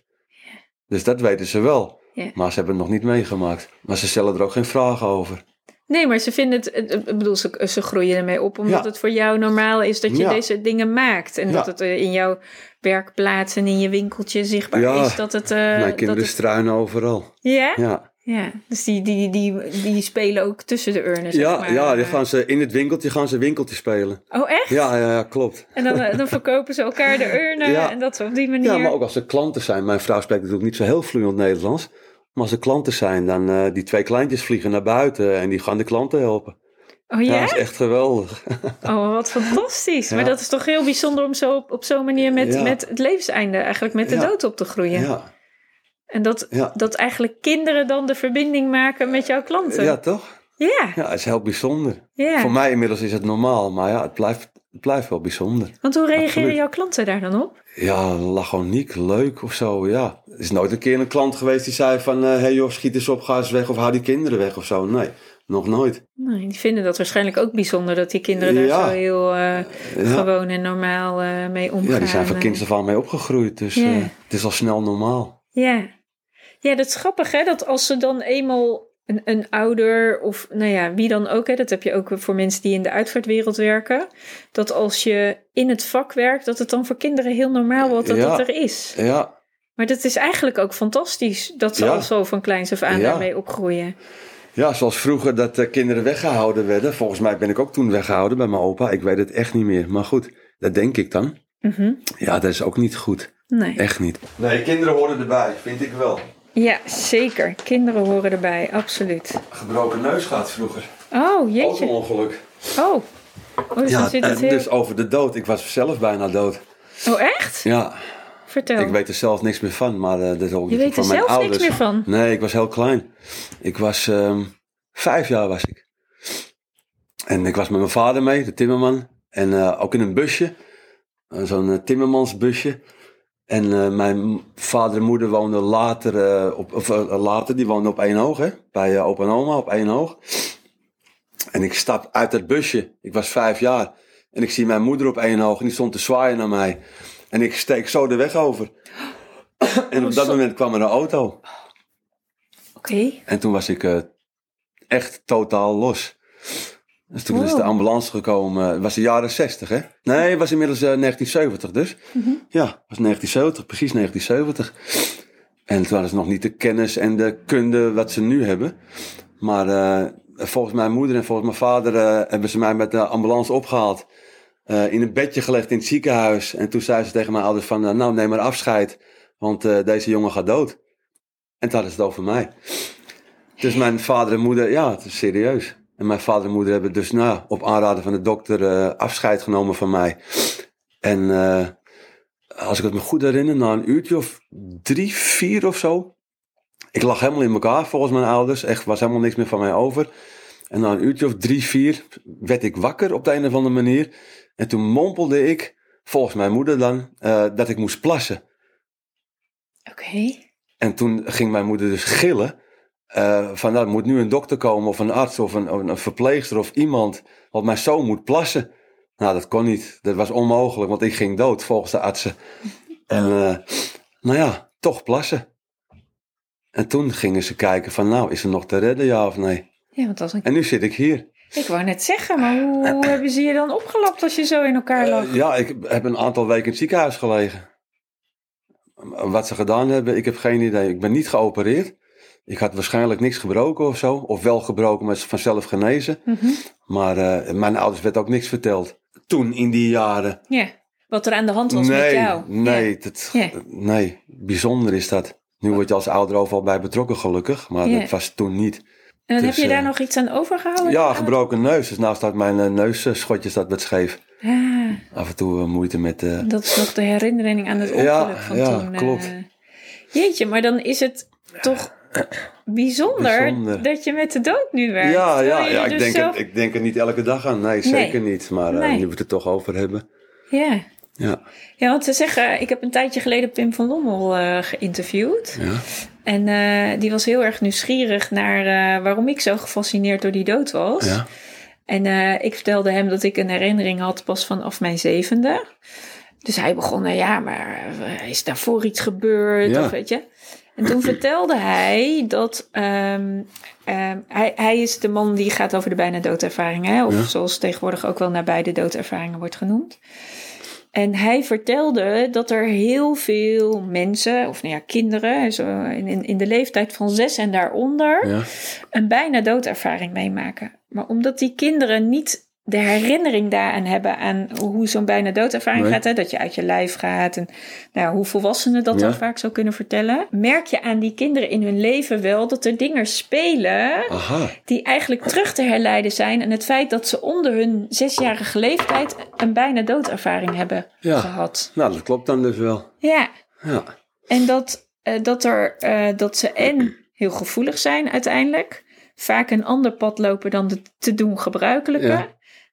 S2: Dus dat weten ze wel.
S1: Ja.
S2: Maar ze hebben het nog niet meegemaakt. Maar ze stellen er ook geen vragen over.
S1: Eh, Nee, maar ze vinden het, het- ik bedoel, ze, ze groeien ermee op omdat
S2: Ja.
S1: het voor jou normaal is dat je
S2: Ja.
S1: deze dingen maakt. En
S2: Ja.
S1: dat het eh, in jouw werkplaats en in je winkeltje zichtbaar
S2: Ja.
S1: is dat het... eh,
S2: Mijn
S1: dat
S2: kinderen
S1: het-
S2: struinen overal.
S1: ja? ja?
S2: Ja.
S1: dus die, die, die, die spelen ook tussen de urnen, zeg
S2: Ja,
S1: maar. eh,
S2: ja die gaan ze, in het winkeltje gaan ze winkeltje spelen.
S1: Oh, echt?
S2: Ja, ja, ja klopt.
S1: En dan, eh, dan verkopen ze elkaar de urnen
S2: Ja.
S1: en dat op die manier.
S2: Ja, maar ook als er klanten zijn. Mijn vrouw spreekt natuurlijk niet zo heel vloeiend Nederlands. Maar als er klanten zijn, dan eh, die twee kleintjes vliegen naar buiten en die gaan de klanten helpen.
S1: Oh ja?
S2: Ja, dat is echt geweldig.
S1: Oh, wat fantastisch.
S2: Ja.
S1: Maar dat is toch heel bijzonder om zo op, op zo'n manier met,
S2: Ja.
S1: met het levenseinde, eigenlijk met de
S2: Ja.
S1: dood op te groeien.
S2: Ja,
S1: En dat,
S2: ja.
S1: dat eigenlijk kinderen dan de verbinding maken met jouw klanten.
S2: ja toch?
S1: Ja,
S2: Ja, het is heel bijzonder.
S1: ja.
S2: Voor mij inmiddels is het normaal, maar ja, het blijft, het blijft wel bijzonder.
S1: Want hoe reageren
S2: Absoluut.
S1: jouw klanten daar dan op?
S2: Ja, lachoniek, leuk of zo, ja. Er is nooit een keer een klant geweest die zei van... Hé hey joh, schiet eens op, ga eens weg of hou die kinderen weg of zo. Nee, nog nooit.
S1: Nee, Nou, die vinden dat waarschijnlijk ook bijzonder dat die kinderen daar
S2: Ja.
S1: zo heel eh,
S2: Ja,
S1: gewoon en normaal eh, mee omgaan.
S2: ja die zijn van
S1: Eh,
S2: kinds af aan mee opgegroeid, dus
S1: Ja.
S2: eh, het is al snel normaal.
S1: Ja. ja, dat is grappig hè, dat als ze dan eenmaal een, een ouder of nou ja, wie dan ook, hè, dat heb je ook voor mensen die in de uitvaartwereld werken, dat als je in het vak werkt, dat het dan voor kinderen heel normaal wordt dat
S2: Ja.
S1: het er is.
S2: Ja,
S1: Maar dat is eigenlijk ook fantastisch dat ze
S2: Ja.
S1: al zo van kleins af aan
S2: Ja.
S1: daarmee opgroeien.
S2: ja zoals vroeger dat eh, kinderen weggehouden werden. Volgens mij ben ik ook toen weggehouden bij mijn opa. Ik weet het echt niet meer, maar goed, dat denk ik dan.
S1: Mhm.
S2: Ja, dat is ook niet goed.
S1: Nee.
S2: Echt niet. Nee, kinderen horen erbij, vind ik wel.
S1: Ja, zeker. Kinderen horen erbij, absoluut.
S2: Gebroken neus gaat vroeger.
S1: Oh, jeetje.
S2: Auto-ongeluk.
S1: Oh, oh dus dan
S2: Ja,
S1: zit het
S2: eh,
S1: heel...
S2: dus over de dood. Ik was zelf bijna dood.
S1: Oh, echt?
S2: dus- Ja,
S1: Vertel.
S2: ik weet er zelf niks meer van, maar eh dat is ook
S1: Je weet er
S2: van mijn
S1: zelf
S2: ouders.
S1: niks meer van.
S2: Nee, ik was heel klein. Ik was ehm, vijf jaar was ik. En ik was met mijn vader mee, de timmerman. En eh, ook in een busje. Eh, Zo'n eh, timmermansbusje. En eh, mijn vader en moeder woonden later, eh, op, of, eh, later die woonden op één hoog, hè? bij eh opa en oma op één hoog. En ik stap uit dat busje, ik was vijf jaar. En ik zie mijn moeder op één hoog en die stond te zwaaien naar mij. En ik steek zo de weg over. En op dat
S1: Oh, zo.
S2: moment kwam er een auto.
S1: Oké.
S2: En toen was ik eh, echt totaal los. Dus toen is
S1: Wow.
S2: de ambulance gekomen. Het was de jaren 60, hè? Nee, het was inmiddels eh, 1970 dus. Ja, het was 1970, precies 1970. En toen hadden ze nog niet de kennis en de kunde wat ze nu hebben. Maar eh, volgens mijn moeder en volgens mijn vader eh, hebben ze mij met de ambulance opgehaald. eh, in een bedje gelegd in het ziekenhuis. En toen zei ze tegen mijn ouders van, eh, nou neem maar afscheid. Want eh, deze jongen gaat dood. En toen hadden ze het over mij. Dus mijn vader en moeder, ja, het is serieus. En mijn vader en moeder hebben dus nou, op aanraden van de dokter eh, afscheid genomen van mij. En eh, als ik het me goed herinner, na een uurtje of drie, vier of zo. Ik lag helemaal in elkaar volgens mijn ouders. Echt, was helemaal niks meer van mij over. En na een uurtje of drie, vier werd ik wakker op de een of andere manier. En toen mompelde ik, volgens mijn moeder dan, eh, dat ik moest plassen.
S1: Oké.
S2: En toen ging mijn moeder dus gillen. eh, van nou, er moet nu een dokter komen of een arts of een, of een verpleegster of iemand. Want mijn zoon moet plassen. Nou, dat kon niet. Dat was onmogelijk, want ik ging dood volgens de artsen. En eh, nou ja, toch plassen. En toen gingen ze kijken van nou, is er nog te redden ja of nee?
S1: Ja, want als een...
S2: En nu zit ik hier.
S1: Ik wou net zeggen, maar hoe, hoe hebben ze je dan opgelapt als je zo in elkaar lag?
S2: Eh, ja, ik heb een aantal weken in het ziekenhuis gelegen. Wat ze gedaan hebben, ik heb geen idee. Ik ben niet geopereerd. Ik had waarschijnlijk niks gebroken of zo. Of wel gebroken, maar is vanzelf genezen.
S1: Mhm.
S2: Maar eh, mijn ouders werd ook niks verteld. toen in die jaren.
S1: Ja. Wat er aan de hand was met
S2: nee,
S1: jou.
S2: nee, dat,
S1: Ja.
S2: nee, bijzonder is dat. Nu word je als ouder overal bij betrokken, gelukkig, maar
S1: Ja.
S2: dat was toen niet.
S1: En dan
S2: Dus,
S1: heb je daar
S2: eh,
S1: nog iets aan overgehouden?
S2: Ja, gebroken neus. Dus nou staat mijn eh, neusschotje staat wat scheef.
S1: Ja,
S2: Af en toe eh, moeite met. eh,
S1: Ah, dat is nog de herinnering aan het ongeluk
S2: Ja,
S1: van
S2: ja,
S1: toen. eh.
S2: klopt.
S1: Jeetje, maar dan is het toch bijzonder,
S2: Bijzonder.
S1: dat je met de dood nu werkt.
S2: ja,
S1: terwijl
S2: ja,
S1: je
S2: ja
S1: er
S2: ik,
S1: dus
S2: denk
S1: zelf-
S2: het, ik denk er niet elke dag aan. Nee, zeker niet. Maar eh,
S1: Nee.
S2: nu we het er toch over hebben.
S1: Ja.
S2: Ja.
S1: ja, want ze zeggen, ik heb een tijdje geleden Pim van Lommel eh, geïnterviewd.
S2: ja.
S1: En eh, die was heel erg nieuwsgierig naar eh, waarom ik zo gefascineerd door die dood was.
S2: Ja.
S1: En eh, ik vertelde hem dat ik een herinnering had pas vanaf mijn zevende. Dus hij begon, nou ja, maar eh, is daarvoor iets gebeurd?
S2: Ja.
S1: Of weet je? En toen vertelde hij dat ehm, ehm, hij, hij is de man die gaat over de bijna doodervaringen. Hè? Of
S2: Ja.
S1: zoals tegenwoordig ook wel naar beide doodervaringen wordt genoemd. En hij vertelde dat er heel veel mensen, of nou ja, kinderen, zo in, in- in de leeftijd van zes en daaronder,
S2: Ja.
S1: een bijna doodervaring meemaken. Maar omdat die kinderen niet de herinnering daaraan hebben aan hoe zo'n bijna doodervaring
S2: Nee.
S1: gaat, hè, dat je uit je lijf gaat en nou, ja, hoe volwassenen dat
S2: Ja.
S1: dan vaak zo kunnen vertellen, merk je aan die kinderen in hun leven wel dat er dingen spelen
S2: Aha.
S1: die eigenlijk terug te herleiden zijn aan het feit dat ze onder hun zesjarige leeftijd een bijna doodervaring hebben
S2: Ja.
S1: gehad.
S2: Nou, dat klopt dan dus wel.
S1: Ja.
S2: Ja.
S1: En dat, eh, dat, er, eh, dat ze en heel gevoelig zijn uiteindelijk, vaak een ander pad lopen dan de te doen gebruikelijke.
S2: Ja.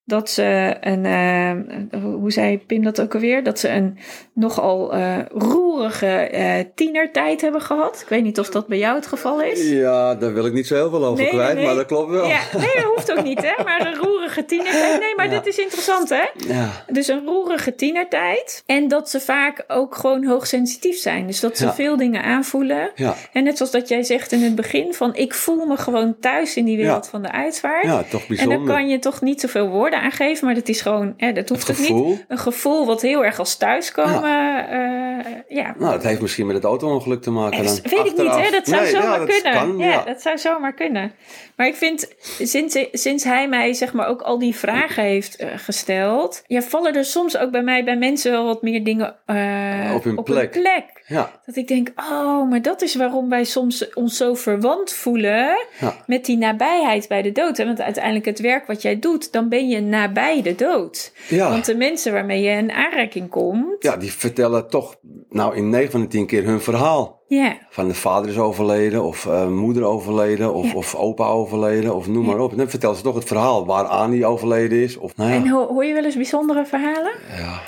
S1: Dat ze een, eh, hoe zei Pim dat ook alweer? Dat ze een nogal eh, roerige eh, tienertijd hebben gehad. Ik weet niet of dat bij jou het geval is.
S2: ja, daar wil ik niet zo heel veel over
S1: Nee, nee,
S2: kwijt,
S1: nee.
S2: maar dat klopt wel.
S1: Ja, nee, dat hoeft ook niet, hè? Maar een roerige tienertijd. Nee, maar
S2: Ja.
S1: dit is interessant, hè?
S2: Ja.
S1: Dus een roerige tienertijd. En dat ze vaak ook gewoon hoogsensitief zijn. Dus dat ze
S2: Ja.
S1: veel dingen aanvoelen.
S2: Ja.
S1: En net zoals dat jij zegt in het begin van ik voel me gewoon thuis in die wereld
S2: Ja.
S1: van de uitvaart.
S2: Ja, toch
S1: en
S2: bijzonder.
S1: daar kan je toch niet zoveel woorden aan geven, maar dat is gewoon, hè, dat hoeft
S2: Het
S1: ook niet.
S2: gevoel.
S1: Een gevoel wat heel erg als thuiskomen, eh ja. Dus
S2: Nou, dat heeft misschien met het auto-ongeluk te maken. Dan.
S1: Weet ik niet, hè?
S2: Achteraf.
S1: dat zou
S2: Nee,
S1: zomaar
S2: ja, dat
S1: kunnen.
S2: Kan,
S1: ja,
S2: ja.
S1: dat zou zomaar kunnen. Maar ik vind, sinds, sinds hij mij zeg maar ook al die vragen heeft eh, gesteld, ja, vallen er soms ook bij mij, bij mensen wel wat meer dingen eh,
S2: Op hun plek.
S1: plek.
S2: Ja,
S1: Dat ik denk, oh, maar dat is waarom wij soms ons zo verwant voelen
S2: Ja.
S1: met die nabijheid bij de dood. hè? Want uiteindelijk het werk wat jij doet, dan ben je nabij de dood.
S2: ja.
S1: Want de mensen waarmee je in aanraking komt,
S2: ja, die vertellen toch, nou in 9 van de 10 keer hun verhaal.
S1: ja,
S2: Van de vader is overleden, of eh, moeder overleden, of,
S1: Ja.
S2: of opa overleden, of noem maar op. En dan vertellen ze toch het verhaal waaraan die overleden is. Of, nou ja,
S1: En ho- hoor je wel eens bijzondere verhalen?
S2: ja,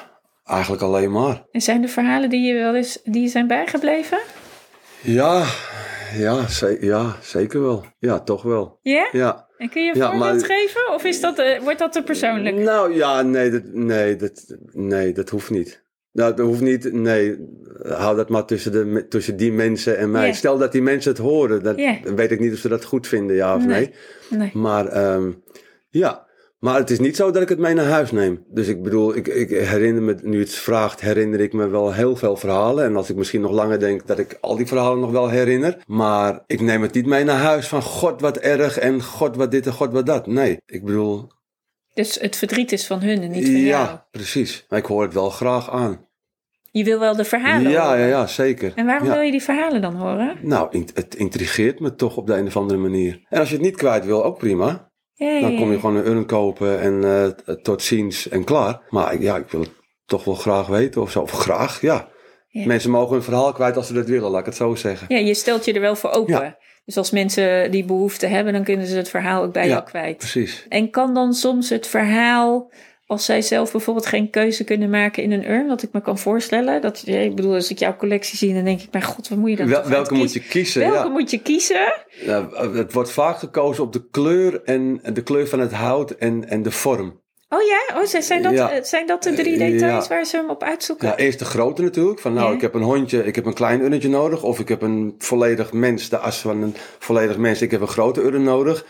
S2: eigenlijk alleen maar.
S1: En zijn er verhalen die je wel eens die je zijn bijgebleven?
S2: Ja, ja, ze- ja, zeker wel. Ja, toch wel.
S1: Ja?
S2: Ja.
S1: En kun je een
S2: Ja,
S1: voorbeeld
S2: maar-
S1: geven? Of is dat, eh, wordt dat te persoonlijk?
S2: Nou ja, nee, dat, nee, dat, nee, dat hoeft niet. Nou, dat hoeft niet, nee, hou dat maar tussen, de, me- tussen die mensen en mij.
S1: Ja.
S2: Stel dat die mensen het horen, dan
S1: Ja.
S2: weet ik niet of ze dat goed vinden, ja of nee.
S1: Nee. Nee.
S2: Maar ehm, ja, maar het is niet zo dat ik het mee naar huis neem. Dus ik bedoel, ik, ik herinner me, nu je het vraagt, herinner ik me wel heel veel verhalen. En als ik misschien nog langer denk, dat ik al die verhalen nog wel herinner. Maar ik neem het niet mee naar huis van god wat erg en god wat dit en god wat dat. Nee, ik bedoel,
S1: Dus het verdriet is van hun en niet van
S2: ja,
S1: jou.
S2: precies. Maar ik hoor het wel graag aan.
S1: Je wil wel de verhalen
S2: ja,
S1: horen.
S2: ja, ja, zeker.
S1: En waarom
S2: Ja.
S1: wil je die verhalen dan horen?
S2: Nou, in- het intrigeert me toch op de een of andere manier. En als je het niet kwijt wil, ook prima.
S1: Ja,
S2: Dan
S1: ja,
S2: kom je
S1: ja.
S2: gewoon een urn kopen en eh, tot ziens en klaar. Maar ik- ja, ik wil het toch wel graag weten of zo. Of graag, ja.
S1: Ja.
S2: Mensen mogen hun verhaal kwijt als ze dat willen, laat ik het zo zeggen.
S1: Ja, je stelt je er wel voor open.
S2: Ja.
S1: Dus als mensen die behoefte hebben, dan kunnen ze het verhaal ook bij
S2: Ja,
S1: jou kwijt.
S2: Precies.
S1: En kan dan soms het verhaal, als zij zelf bijvoorbeeld geen keuze kunnen maken in een urn, wat ik me kan voorstellen. Dat, ja, ik bedoel, als ik jouw collectie zie, dan denk ik, mijn god, wat moet je dan
S2: Wel-
S1: toch
S2: welke moet
S1: uitkiezen?
S2: je kiezen?
S1: Welke
S2: ja.
S1: moet je kiezen?
S2: Ja, het wordt vaak gekozen op de kleur en en de kleur van het hout en, en de vorm.
S1: Oh ja, oh, zijn- zijn, dat,
S2: Ja.
S1: eh, zijn dat de drie
S2: Eh,
S1: details
S2: ja.
S1: waar ze hem op uitzoeken?
S2: Ja, eerst de grote natuurlijk. Van nou,
S1: Ja.
S2: ik heb een hondje, ik heb een klein urnetje nodig. Of ik heb een volledig mens, de as van een volledig mens. Ik heb een grote urn nodig.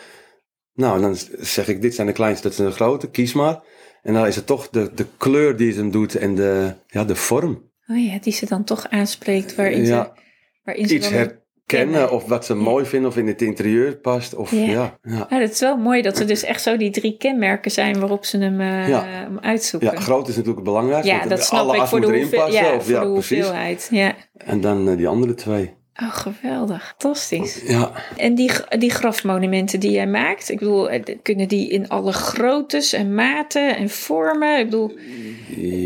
S2: Nou, en dan zeg ik, dit zijn de kleinste, dat zijn de grote. Kies maar. En dan is het toch de, de kleur die het hem doet en de, ja, de vorm.
S1: Oh ja, die ze dan toch aanspreekt
S2: Ja,
S1: waarin ze, waarin ze
S2: iets
S1: dan een
S2: kennen of wat ze mooi vinden of in het interieur past. Of,
S1: Ja.
S2: ja, ja.
S1: Ja, dat is wel mooi dat er dus echt zo die drie kenmerken zijn waarop ze hem, eh,
S2: Ja.
S1: hem uitzoeken.
S2: Ja, groot is natuurlijk het belangrijkste.
S1: Ja,
S2: want
S1: dat snap
S2: alle
S1: ik
S2: as
S1: voor de,
S2: moet erin
S1: hoeveel-
S2: passen,
S1: ja,
S2: of,
S1: voor
S2: ja,
S1: de
S2: precies.
S1: hoeveelheid. Ja.
S2: En dan eh, die andere twee.
S1: Oh, geweldig. Fantastisch.
S2: Ja,
S1: En die, die grafmonumenten die jij maakt, ik bedoel, eh, kunnen die in alle groottes en maten en vormen? Ik bedoel,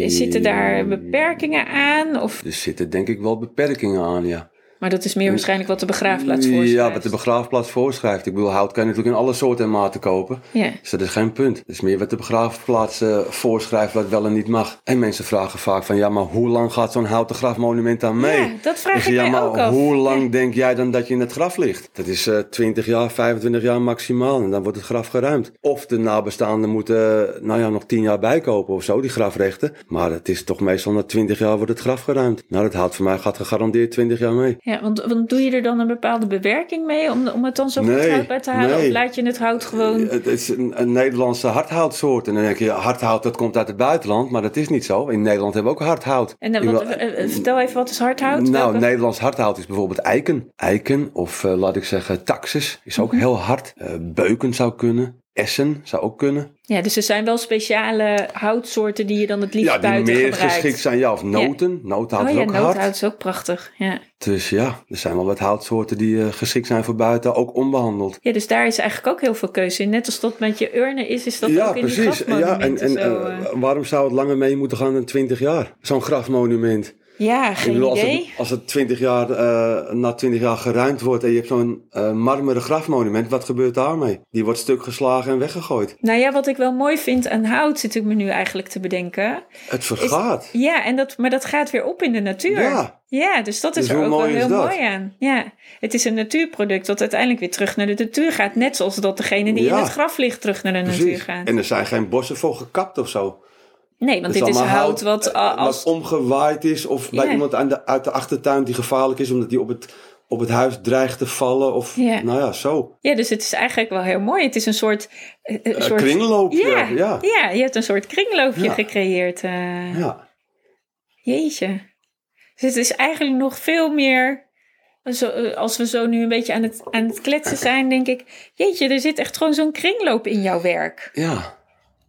S1: zitten daar beperkingen aan? Of,
S2: er zitten denk ik wel beperkingen aan, ja.
S1: maar dat is meer waarschijnlijk wat de begraafplaats voorschrijft.
S2: Ja, wat de begraafplaats voorschrijft. Ik bedoel, hout kan je natuurlijk in alle soorten en maten kopen.
S1: Ja.
S2: Dus dat is geen punt. Het is meer wat de begraafplaats eh, voorschrijft wat wel en niet mag. En mensen vragen vaak van, ja, maar hoe lang gaat zo'n houten grafmonument aan mee?
S1: Ja, dat vraag
S2: Ik zeg,
S1: ik
S2: ja,
S1: mij
S2: maar
S1: ook af.
S2: hoe lang denk jij dan dat je in het graf ligt? Dat is eh 20 jaar, 25 jaar maximaal. En dan wordt het graf geruimd. Of de nabestaanden moeten, eh, nou ja, nog 10 jaar bijkopen of zo, die grafrechten. Maar het is toch meestal na 20 jaar wordt het graf geruimd. Nou, dat hout voor mij gaat gegarandeerd 20 jaar mee.
S1: Ja, want, want doe je er dan een bepaalde bewerking mee om, om het dan zo goed
S2: Nee,
S1: houdbaar te halen?
S2: nee.
S1: Of laat je het hout gewoon...
S2: Het is een, een Nederlandse hardhoutsoort. En dan denk je, ja, hardhout dat komt uit het buitenland. Maar dat is niet zo. In Nederland hebben we ook hardhout.
S1: En dan,
S2: Ik
S1: wat,
S2: wil-
S1: eh, eh, vertel even, wat is hardhout?
S2: Nou,
S1: Welke-
S2: Nederlands hardhout is bijvoorbeeld eiken. Eiken, of eh, laat ik zeggen taxus, is
S1: Mhm.
S2: ook heel hard. Eh, beuken zou kunnen. Essen zou ook kunnen.
S1: Ja, dus er zijn wel speciale houtsoorten die je dan het liefst
S2: Ja, die
S1: buiten
S2: meer
S1: gebruikt.
S2: geschikt zijn. Ja, of noten. Notenhout
S1: Oh
S2: is
S1: ja,
S2: ook
S1: noodhout
S2: hard.
S1: is ook prachtig. Ja.
S2: Dus ja, er zijn wel wat houtsoorten die eh, geschikt zijn voor buiten. Ook onbehandeld.
S1: ja, dus daar is eigenlijk ook heel veel keuze in. Net als dat met je urnen is, is dat
S2: ja,
S1: ook in die
S2: precies. Ja, en,
S1: grafmonumenten
S2: en
S1: zo.
S2: eh,
S1: eh.
S2: waarom zou het langer mee moeten gaan dan 20 jaar? Zo'n grafmonument.
S1: ja,
S2: Ik
S1: geen
S2: bedoel, als
S1: idee.
S2: het, als het 20 jaar, eh, na 20 jaar geruimd wordt en je hebt zo'n eh, marmeren grafmonument, wat gebeurt daarmee? Die wordt stuk geslagen en weggegooid.
S1: Nou ja, wat ik wel mooi vind aan hout, zit ik me nu eigenlijk te bedenken.
S2: Het vergaat.
S1: Ja, en dat, maar dat gaat weer op in de natuur.
S2: Ja.
S1: Ja, dus dat is
S2: Dus
S1: er
S2: hoe
S1: ook wel
S2: mooi is
S1: heel
S2: dat?
S1: mooi aan. Ja, het is een natuurproduct dat uiteindelijk weer terug naar de natuur gaat. Net zoals dat degene die
S2: Ja.
S1: in het graf ligt terug naar de natuur
S2: Precies.
S1: gaat.
S2: En dus er zijn geen bossen voor gekapt of zo.
S1: nee, want
S2: Het
S1: dit is hout,
S2: allemaal
S1: wat
S2: eh,
S1: eh, als...
S2: wat omgewaaid is of bij
S1: Ja.
S2: iemand aan de, uit de achtertuin die gevaarlijk is omdat die op het, op het huis dreigt te vallen of
S1: Ja.
S2: nou ja, zo.
S1: Ja, dus het is eigenlijk wel heel mooi. Het is een soort... eh, een
S2: Een
S1: soort-
S2: kringloopje.
S1: Ja, ja.
S2: ja.
S1: je hebt een soort kringloopje
S2: Ja.
S1: gecreëerd. eh.
S2: ja.
S1: Jeetje. Dus het is eigenlijk nog veel meer... Zo, eh, als we zo nu een beetje aan het, aan het kletsen zijn, denk ik... Jeetje, er zit echt gewoon zo'n kringloop in jouw werk.
S2: ja.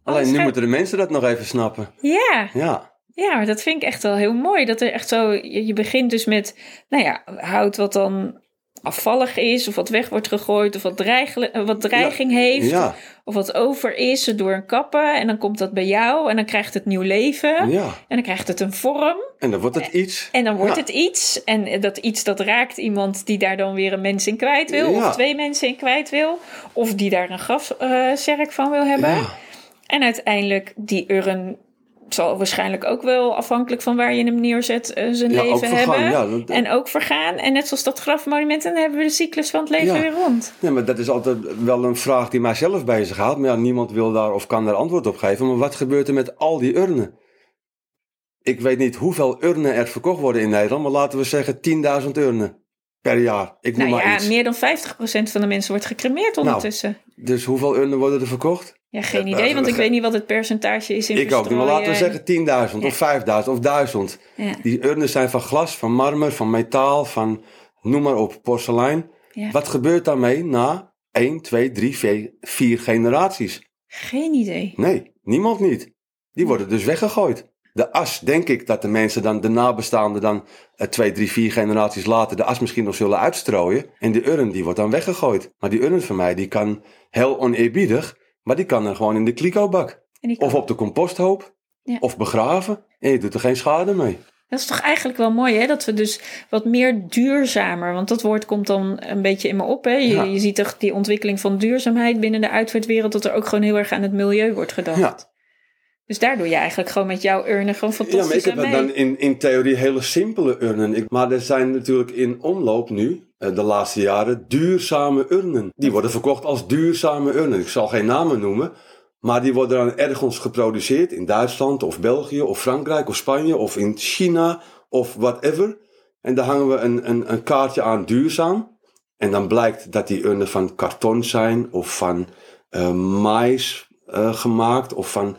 S1: Alles
S2: Alleen nu
S1: gaat-
S2: moeten de mensen dat nog even snappen.
S1: Ja,
S2: Ja.
S1: ja, maar dat vind ik echt wel heel mooi. Dat er echt zo... Je, je begint dus met, nou ja, hout wat dan afvallig is... of wat weg wordt gegooid of wat, dreigle- eh, wat dreiging heeft...
S2: Ja.
S1: of wat over is door een kappen. En dan komt dat bij jou en dan krijgt het nieuw leven.
S2: ja.
S1: En dan krijgt het een vorm
S2: En dan wordt het iets.
S1: Eh, en dan wordt
S2: Ja.
S1: het iets. En dat iets dat raakt iemand die daar dan weer een mens in kwijt wil.
S2: Ja.
S1: Of twee mensen in kwijt wil. Of die daar een grafzerk van wil hebben.
S2: Ja.
S1: En uiteindelijk die urn zal waarschijnlijk ook wel afhankelijk van waar je hem neerzet eh, zijn
S2: Ja, ook
S1: leven
S2: vergaan,
S1: hebben.
S2: ja, dat-
S1: en ook vergaan. En net zoals dat grafmonument, dan hebben we de cyclus van het leven
S2: Ja.
S1: weer rond.
S2: Ja, maar dat is altijd wel een vraag die mijzelf bezighoudt. Maar ja, niemand wil daar of kan daar antwoord op geven. Maar wat gebeurt er met al die urnen? Ik weet niet hoeveel urnen er verkocht worden in Nederland, maar laten we zeggen 10.000 urnen per jaar. Ik noem
S1: Nou
S2: maar
S1: ja,
S2: iets.
S1: meer dan 50% van de mensen wordt gecremeerd ondertussen.
S2: Dus hoeveel urnen worden er verkocht?
S1: Ja, geen
S2: Ja,
S1: idee,
S2: eh,
S1: want ik
S2: ge-
S1: weet niet wat het percentage is in
S2: ik ook. niet, Maar laten we
S1: verstrooien.
S2: zeggen 10.000 of 5.000 of 1000.
S1: Ja.
S2: Die urnen zijn van glas, van marmer, van metaal, van noem maar op, porselein.
S1: Ja.
S2: Wat gebeurt daarmee na 1, 2, 3, 4, 4 generaties?
S1: Geen idee.
S2: Nee, niemand niet. Die worden dus weggegooid. De as, denk ik dat de mensen dan, de nabestaanden dan eh, twee, drie, vier generaties later de as misschien nog zullen uitstrooien. En de urn, die wordt dan weggegooid. Maar die urn van mij, die kan heel oneerbiedig, maar die kan dan gewoon in de kliko-bak.
S1: En die-
S2: Of op de composthoop.
S1: Ja.
S2: Of begraven. En je doet er geen schade mee.
S1: Dat is toch eigenlijk wel mooi, hè? Dat we dus wat meer duurzamer... want dat woord komt dan een beetje in me op, hè? Je,
S2: Ja.
S1: je ziet toch die ontwikkeling van duurzaamheid binnen de uitvaartwereld... dat er ook gewoon heel erg aan het milieu wordt gedacht.
S2: Ja.
S1: Dus daar doe je eigenlijk gewoon met jouw urnen gewoon
S2: Ja, maar ik
S1: fantastisch
S2: heb
S1: aan mee.
S2: dan in, in theorie hele simpele urnen. Ik, maar er zijn natuurlijk in omloop nu, eh, de laatste jaren, duurzame urnen. Die worden verkocht als duurzame urnen. Ik zal geen namen noemen. Maar die worden dan ergens geproduceerd in Duitsland of België of Frankrijk of Spanje of in China of whatever. En daar hangen we een, een, een kaartje aan duurzaam. En dan blijkt dat die urnen van karton zijn of van eh mais eh, gemaakt of van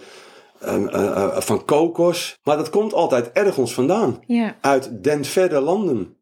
S2: eh, eh, eh, van kokos. Maar dat komt altijd ergens vandaan.
S1: Ja,
S2: Uit den verre landen.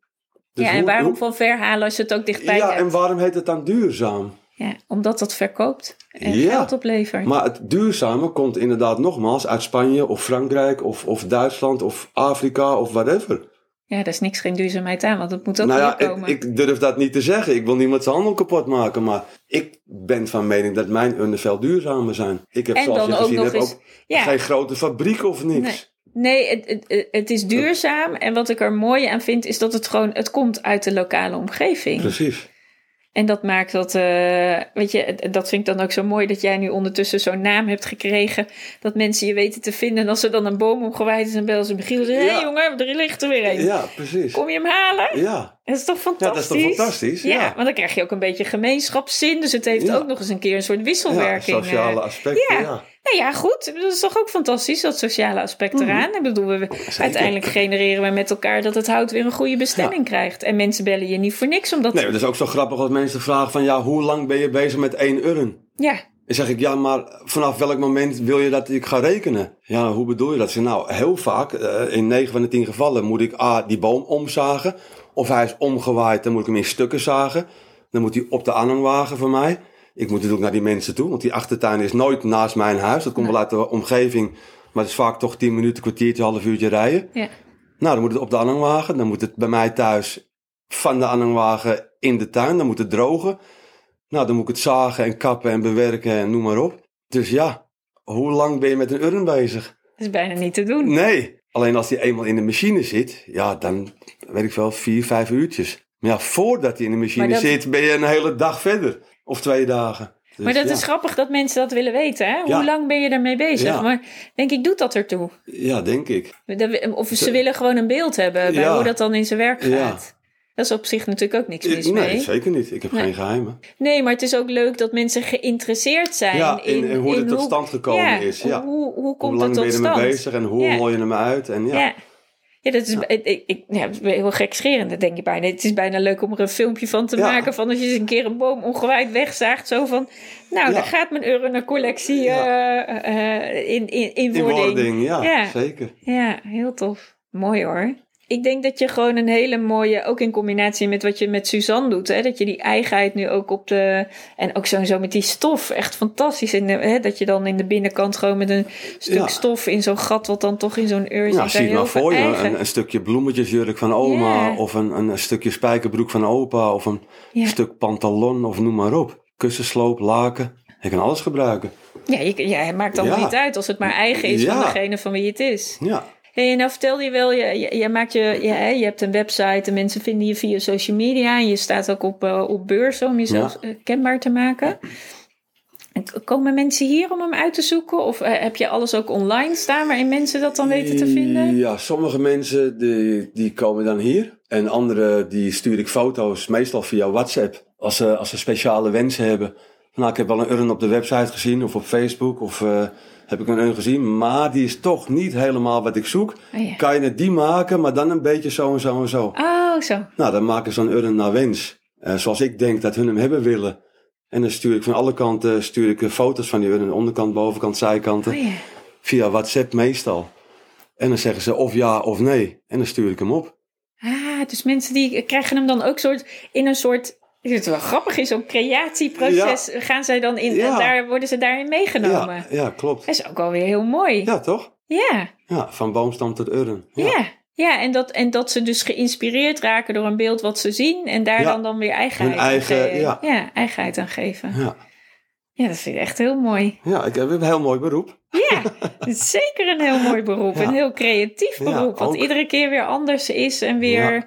S2: Dus
S1: ja, en
S2: hoe-
S1: waarom
S2: hoe-
S1: van ver halen als je het ook dichtbij
S2: ja,
S1: hebt?
S2: en waarom heet het dan duurzaam?
S1: Ja, omdat dat verkoopt en
S2: Ja.
S1: geld oplevert.
S2: Maar het duurzame komt inderdaad nogmaals uit Spanje of Frankrijk of, of Duitsland of Afrika of whatever.
S1: Ja, daar is niks geen duurzaamheid aan, want dat moet ook
S2: nou ja,
S1: weer
S2: ik,
S1: komen.
S2: ik durf dat niet te zeggen. Ik wil niemand zijn handel kapot maken, maar ik ben van mening dat mijn underveld duurzamer zijn. Ik heb
S1: En
S2: zoals
S1: dan
S2: je
S1: ook
S2: gezien
S1: nog
S2: hebt,
S1: eens-
S2: ook
S1: ja.
S2: geen grote fabriek of niks.
S1: Nee. Nee, het, het, het is duurzaam. En wat ik er mooi aan vind, is dat het gewoon... Het komt uit de lokale omgeving.
S2: Precies.
S1: En dat maakt dat... eh, weet je, het- dat vind ik dan ook zo mooi... dat jij nu ondertussen zo'n naam hebt gekregen... dat mensen je weten te vinden. En als er dan een boom omgewaaid is... en bellen ze Michiel en zeggen... Hé
S2: Ja.
S1: jongen, er ligt er weer een.
S2: Ja, precies.
S1: Kom je hem halen?
S2: Ja,
S1: Dat is toch
S2: Ja, dat
S1: fantastisch?
S2: is toch fantastisch,
S1: Ja,
S2: ja.
S1: want dan krijg je ook een beetje gemeenschapszin. Dus het heeft
S2: Ja.
S1: ook nog eens een keer een soort
S2: ja
S1: wisselwerking.
S2: sociale
S1: eh.
S2: aspecten,
S1: ja.
S2: ja.
S1: Nou ja, goed. Dat is toch ook fantastisch, dat sociale
S2: Mhm.
S1: aspect eraan. Ik bedoel, we,
S2: Oh,
S1: uiteindelijk genereren we met elkaar dat het hout weer een goede bestemming krijgt. En mensen bellen je niet voor niks, omdat...
S2: Nee, maar dat is ook zo grappig als mensen vragen van, ja, hoe lang ben je bezig met één urn?
S1: Ja,
S2: Dan zeg ik, ja, maar vanaf welk moment wil je dat ik ga rekenen? Ja, hoe bedoel je dat? Ze, nou, heel vaak, eh, in 9 van de 10 gevallen, moet ik A, die boom omzagen. Of hij is omgewaaid, dan moet ik hem in stukken zagen. Dan moet hij op de aanhangwagen van mij. Ik moet natuurlijk naar die mensen toe, want die achtertuin is nooit naast mijn huis. Dat komt wel uit de omgeving, maar het is vaak toch 10 minuten, kwartiertje, half uurtje rijden.
S1: ja.
S2: Nou, dan moet het op de aanhangwagen. Dan moet het bij mij thuis van de aanhangwagen in de tuin. Dan moet het drogen. Nou, dan moet ik het zagen en kappen en bewerken en noem maar op. Dus ja, hoe lang ben je met een urn bezig?
S1: Dat is bijna niet te doen.
S2: Nee. Alleen als die eenmaal in de machine zit, ja, dan weet ik wel vier, vijf uurtjes. Maar ja, voordat hij in de machine
S1: Maar dat-
S2: zit, ben je een hele dag verder. Of twee dagen. Dus
S1: Maar dat
S2: ja.
S1: is grappig dat mensen dat willen weten, hè? Hoe
S2: Ja.
S1: lang ben je daarmee bezig?
S2: Ja.
S1: Maar denk ik, doet dat ertoe?
S2: Ja, denk ik.
S1: Dat- Of ze willen gewoon een beeld hebben bij
S2: Ja.
S1: hoe dat dan in zijn werk
S2: Ja.
S1: gaat. Dat is op zich natuurlijk ook niks mis
S2: nee,
S1: mee.
S2: zeker niet. Ik heb
S1: Nee.
S2: geen geheimen.
S1: Nee, maar het is ook leuk dat mensen geïnteresseerd zijn
S2: Ja, in- in hoe dit tot stand gekomen
S1: ja,
S2: is, ja.
S1: Hoe, hoe komt
S2: Hoe lang
S1: het
S2: ben
S1: tot
S2: je
S1: stand?
S2: ermee bezig en hoe
S1: Ja.
S2: hol je hem uit? En
S1: Ja. ja. dat is ik- ik, ik, ja, dat is heel gekscherend, dat denk je bijna. Het is bijna leuk om er een filmpje van te
S2: Ja.
S1: maken. Van als je eens een keer een boom ongewijd wegzaagt. Zo van, nou,
S2: Ja.
S1: daar gaat mijn urnencollectie
S2: Ja.
S1: eh, eh, in, in, in wording.
S2: Inwording, ja,
S1: Ja.
S2: zeker.
S1: Ja, heel tof. Mooi hoor. Ik denk dat je gewoon een hele mooie, ook in combinatie met wat je met Suzanne doet, hè, dat je die eigenheid nu ook op de. En ook sowieso met die stof, echt fantastisch. En eh, hè, dat je dan in de binnenkant gewoon met een stuk
S2: Ja.
S1: stof in zo'n gat, wat dan toch in zo'n ur zit.
S2: Nou,
S1: daar
S2: zie het
S1: heel
S2: maar
S1: veel
S2: voor je.
S1: eigen-
S2: Een, een stukje bloemetjesjurk van oma.
S1: Ja.
S2: Of een, een, een stukje spijkerbroek van opa. Of een
S1: Ja.
S2: stuk pantalon of noem maar op. Kussensloop, laken. Je kan alles gebruiken.
S1: ja, je, ja, het maakt allemaal
S2: Ja.
S1: niet uit als het maar eigen is van
S2: Ja.
S1: degene van wie het is.
S2: Ja,
S1: Hey, en nou vertelde je wel, je, je, je maakt je, je, hè, je hebt een website en mensen vinden je via social media. En je staat ook op, eh, op beurzen om jezelf eh, kenbaar te maken. En k- komen mensen hier om hem uit te zoeken? Of eh, heb je alles ook online staan waarin mensen dat dan weten te vinden?
S2: Mm, Ja, sommige mensen die, die komen dan hier. En andere die stuur ik foto's, meestal via WhatsApp. Als ze, als ze speciale wensen hebben. Van, Nou, ik heb wel een urn op de website gezien of op Facebook. Of eh, heb ik een urn gezien. Maar die is toch niet helemaal wat ik zoek.
S1: Oh, ja.
S2: Kan je het die maken, maar dan een beetje zo en zo en zo.
S1: Oh, zo.
S2: Nou, dan maken ze een urn naar wens. Eh, zoals ik denk dat hun hem hebben willen. En dan stuur ik van alle kanten stuur ik eh, foto's van die urn. Onderkant, bovenkant, zijkanten.
S1: Oh, ja.
S2: Via WhatsApp meestal. En dan zeggen ze of ja of nee. En dan stuur ik hem op.
S1: Ah, dus mensen die krijgen hem dan ook soort in een soort. Het is wel grappig, in zo'n creatieproces gaan zij dan in.
S2: Ja.
S1: en Daar worden ze daarin meegenomen.
S2: Ja, ja, klopt.
S1: Dat is ook alweer heel mooi.
S2: Ja, toch?
S1: ja.
S2: Ja, van boomstam tot urn.
S1: Ja, ja. en, dat, en dat ze dus geïnspireerd raken door een beeld wat ze zien en daar
S2: Ja.
S1: dan dan weer eigenheid,
S2: Hun eigen-
S1: aan, geven.
S2: ja.
S1: eigenheid aan geven.
S2: Ja,
S1: Ja, dat vind ik echt heel mooi.
S2: ja ik heb een heel mooi beroep. *laughs*
S1: Ja, dat is zeker een heel mooi beroep.
S2: Ja.
S1: Een heel creatief
S2: Ja,
S1: beroep, wat
S2: ook.
S1: iedere keer weer anders is en weer...
S2: Ja.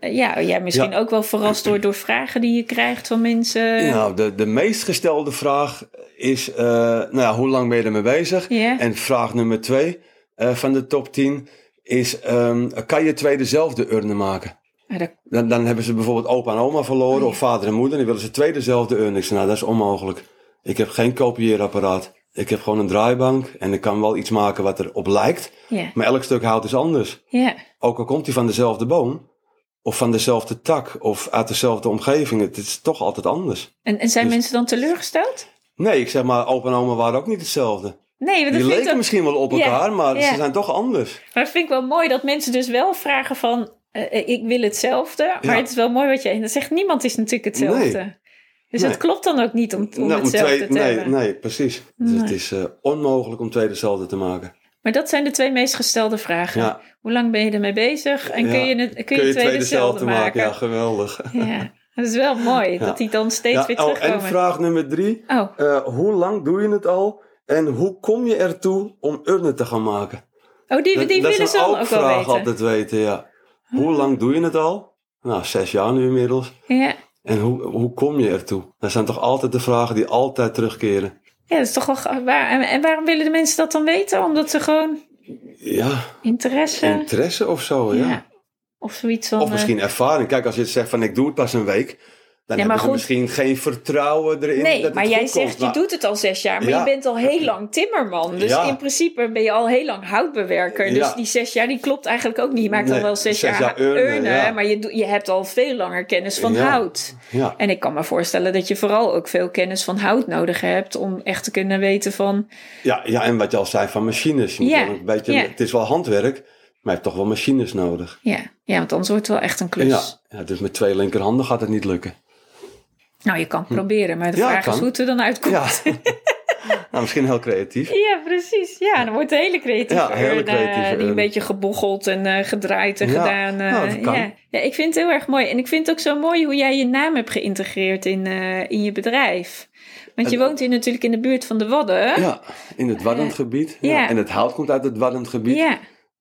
S1: eh, ja, ja, misschien ook wel verrast door, door vragen die je krijgt van mensen. Ja.
S2: Nou, de, de meest gestelde vraag is, eh, nou ja, hoe lang ben je ermee bezig? En vraag nummer twee eh, van de top 10 is, ehm, kan je twee dezelfde urnen maken?
S1: Maar dat-
S2: Dan, dan hebben ze bijvoorbeeld opa en oma verloren, of vader en moeder, en die willen ze twee dezelfde urn. Ik zeg, nou, dat is onmogelijk. Ik heb geen kopieerapparaat. Ik heb gewoon een draaibank en ik kan wel iets maken wat erop lijkt.
S1: ja,
S2: Maar elk stuk hout is anders.
S1: ja,
S2: Ook al komt hij van dezelfde boom, of van dezelfde tak, of uit dezelfde omgeving, het is toch altijd anders.
S1: En, en zijn
S2: Dus-
S1: mensen dan teleurgesteld?
S2: Nee, ik zeg maar, opa en oma waren ook niet hetzelfde.
S1: Nee, want
S2: Die
S1: dat vind ik
S2: leken
S1: dan-
S2: misschien wel op
S1: Ja,
S2: elkaar, maar
S1: ja.
S2: ze zijn toch anders.
S1: Maar dat vind ik wel mooi dat mensen dus wel vragen van... eh, eh, ik wil hetzelfde, maar het is wel mooi wat jij... Dat zegt niemand is natuurlijk hetzelfde. Dus
S2: Nee.
S1: dat klopt dan ook niet om, om
S2: Nou, om
S1: hetzelfde
S2: twee-
S1: te
S2: nee,
S1: hebben.
S2: nee, precies. Dus het
S1: Nee.
S2: is eh, onmogelijk om twee dezelfde te maken.
S1: Maar dat zijn de twee meest gestelde vragen.
S2: Ja.
S1: Hoe lang ben je ermee bezig? En
S2: Ja.
S1: kun je, het, kun je, twee dezelfde maken?
S2: Ja, geweldig.
S1: *laughs* Ja, dat is wel mooi
S2: Ja.
S1: dat die dan steeds
S2: Ja,
S1: weer
S2: oh, en
S1: terugkomen.
S2: vraag nummer drie.
S1: Oh,
S2: Eh, hoe lang doe je het al? En hoe kom je ertoe om urnen te gaan maken?
S1: oh die, die
S2: dat
S1: willen
S2: is
S1: ze
S2: een
S1: dan ook wel
S2: vraag
S1: weten. Ah.
S2: altijd weten, ja. Hoe lang doe je het al? Nou, zes jaar nu inmiddels.
S1: Ja.
S2: En hoe, hoe kom je ertoe? Dat zijn toch altijd de vragen die altijd terugkeren.
S1: ja, dat is toch wel... ga- Waar, en, en waarom willen de mensen dat dan weten? Omdat ze gewoon
S2: Ja,
S1: interesse...
S2: interesse of zo, ja.
S1: ja. Of zoiets van...
S2: Of
S1: eh,
S2: misschien ervaring. Kijk, als je zegt van ik doe het pas een week, dan
S1: Ja,
S2: heb
S1: maar
S2: je
S1: goed.
S2: misschien geen vertrouwen erin. dat
S1: Nee,
S2: het
S1: maar
S2: goed
S1: jij
S2: komt.
S1: zegt, je
S2: Maar-
S1: doet het al zes jaar, maar
S2: Ja.
S1: je bent al heel lang timmerman. Dus
S2: Ja.
S1: in principe ben je al heel lang houtbewerker. Dus
S2: Ja.
S1: die zes jaar, die klopt eigenlijk ook niet. Je maakt
S2: Nee,
S1: dan wel zes,
S2: zes jaar urnen, ja.
S1: maar je, doet- je hebt al veel langer kennis van
S2: Ja.
S1: hout.
S2: Ja.
S1: En ik kan me voorstellen dat je vooral ook veel kennis van hout nodig hebt om echt te kunnen weten van...
S2: Ja, ja, en wat je al zei van machines. Je moet
S1: Ja,
S2: wel een beetje,
S1: ja.
S2: Het is wel handwerk, maar je hebt toch wel machines nodig.
S1: Ja, ja want anders wordt het wel echt een klus.
S2: Ja, ja, dus met twee linkerhanden gaat het niet lukken.
S1: Nou, je kan het proberen, maar de
S2: Hm. Ja,
S1: vraag
S2: kan.
S1: is hoe het er dan uitkomt. *laughs*
S2: Ja.
S1: Ja,
S2: nou, misschien heel creatief.
S1: precies. Ja, dan wordt het hele creatieve
S2: Ja, hele
S1: urn, eh,
S2: creatieve
S1: die
S2: urn.
S1: een beetje gebocheld en eh, gedraaid en
S2: Ja,
S1: gedaan. eh,
S2: nou, dat kan.
S1: ja. ja, ik vind het heel erg mooi. En ik vind het ook zo mooi hoe jij je naam hebt geïntegreerd in, eh, in je bedrijf. Want je
S2: Het-
S1: woont hier natuurlijk in de buurt van de Wadden.
S2: Ja, in het waddend gebied. Ja.
S1: ja.
S2: En het hout komt uit het waddend gebied.
S1: ja.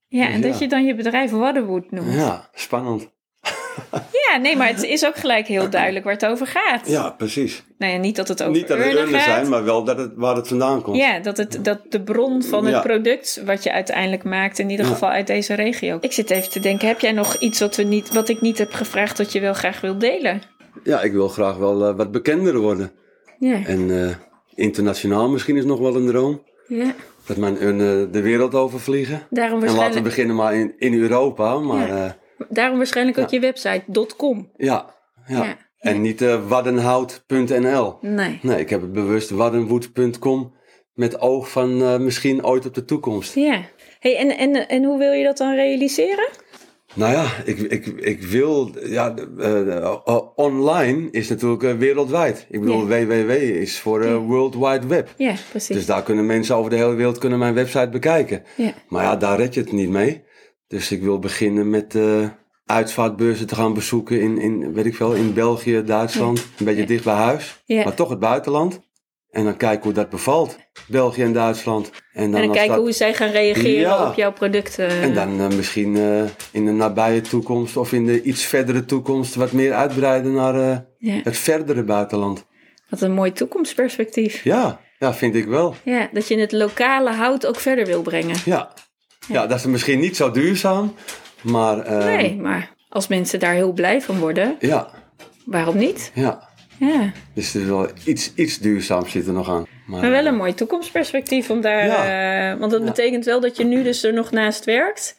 S1: Ja, en
S2: Ja.
S1: dat je dan je bedrijf Waddenwood noemt.
S2: Ja, spannend.
S1: Ja, nee, maar het is ook gelijk heel duidelijk waar het over gaat.
S2: Ja, precies.
S1: Nou ja, niet dat het over
S2: Niet dat het
S1: urnen
S2: urnen
S1: gaat.
S2: zijn, maar wel dat het, waar het vandaan komt.
S1: Ja, dat, het, dat de bron van het
S2: Ja.
S1: product wat je uiteindelijk maakt, in ieder
S2: Ja.
S1: geval uit deze regio. Ik zit even te denken, heb jij nog iets wat, we niet, wat ik niet heb gevraagd dat je wel graag wil delen?
S2: Ja, ik wil graag wel eh, wat bekender worden.
S1: Ja,
S2: En eh, internationaal misschien is nog wel een droom.
S1: ja.
S2: Dat mijn urnen de wereld overvliegen.
S1: Daarom
S2: En laten we
S1: waarschijnlijk,
S2: beginnen maar in, in Europa. Maar
S1: Ja.
S2: eh,
S1: daarom waarschijnlijk ook
S2: Ja.
S1: je website, .com.
S2: ja, ja,
S1: Ja.
S2: En niet eh, waddenhout.nl.
S1: Nee.
S2: Nee, ik heb het bewust waddenwood.com met oog van eh, misschien ooit op de toekomst.
S1: Ja. Hey, en, en, en hoe wil je dat dan realiseren?
S2: Nou ja, ik, ik, ik wil. Ja, eh, eh, eh, online is natuurlijk eh, wereldwijd. Ik bedoel, www is voor eh, World Wide Web.
S1: Ja, precies.
S2: Dus daar kunnen mensen over de hele wereld kunnen mijn website bekijken.
S1: Ja.
S2: Maar ja, daar red je het niet mee. Dus ik wil beginnen met eh, uitvaartbeurzen te gaan bezoeken in, in, weet ik veel, in België, Duitsland. Een beetje dicht bij huis,
S1: Ja.
S2: maar toch het buitenland. En dan kijken hoe dat bevalt, België en Duitsland. En
S1: en dan
S2: als
S1: kijken
S2: dat-
S1: hoe zij gaan reageren
S2: Ja.
S1: op jouw producten.
S2: en dan eh, misschien eh, in de nabije toekomst of in de iets verdere toekomst wat meer uitbreiden naar eh,
S1: Ja.
S2: het verdere buitenland.
S1: Wat een mooi toekomstperspectief.
S2: Ja, ja, vind ik wel.
S1: Ja, dat je het lokale hout ook verder wil brengen.
S2: Ja. ja, dat is misschien niet zo duurzaam, maar eh,
S1: Nee, maar als mensen daar heel blij van worden,
S2: ja,
S1: waarom niet?
S2: ja.
S1: Ja.
S2: Dus er is wel iets, iets duurzaams zit er nog aan.
S1: Maar wel een mooi toekomstperspectief om daar. eh, want dat betekent wel dat je nu dus er nog naast werkt.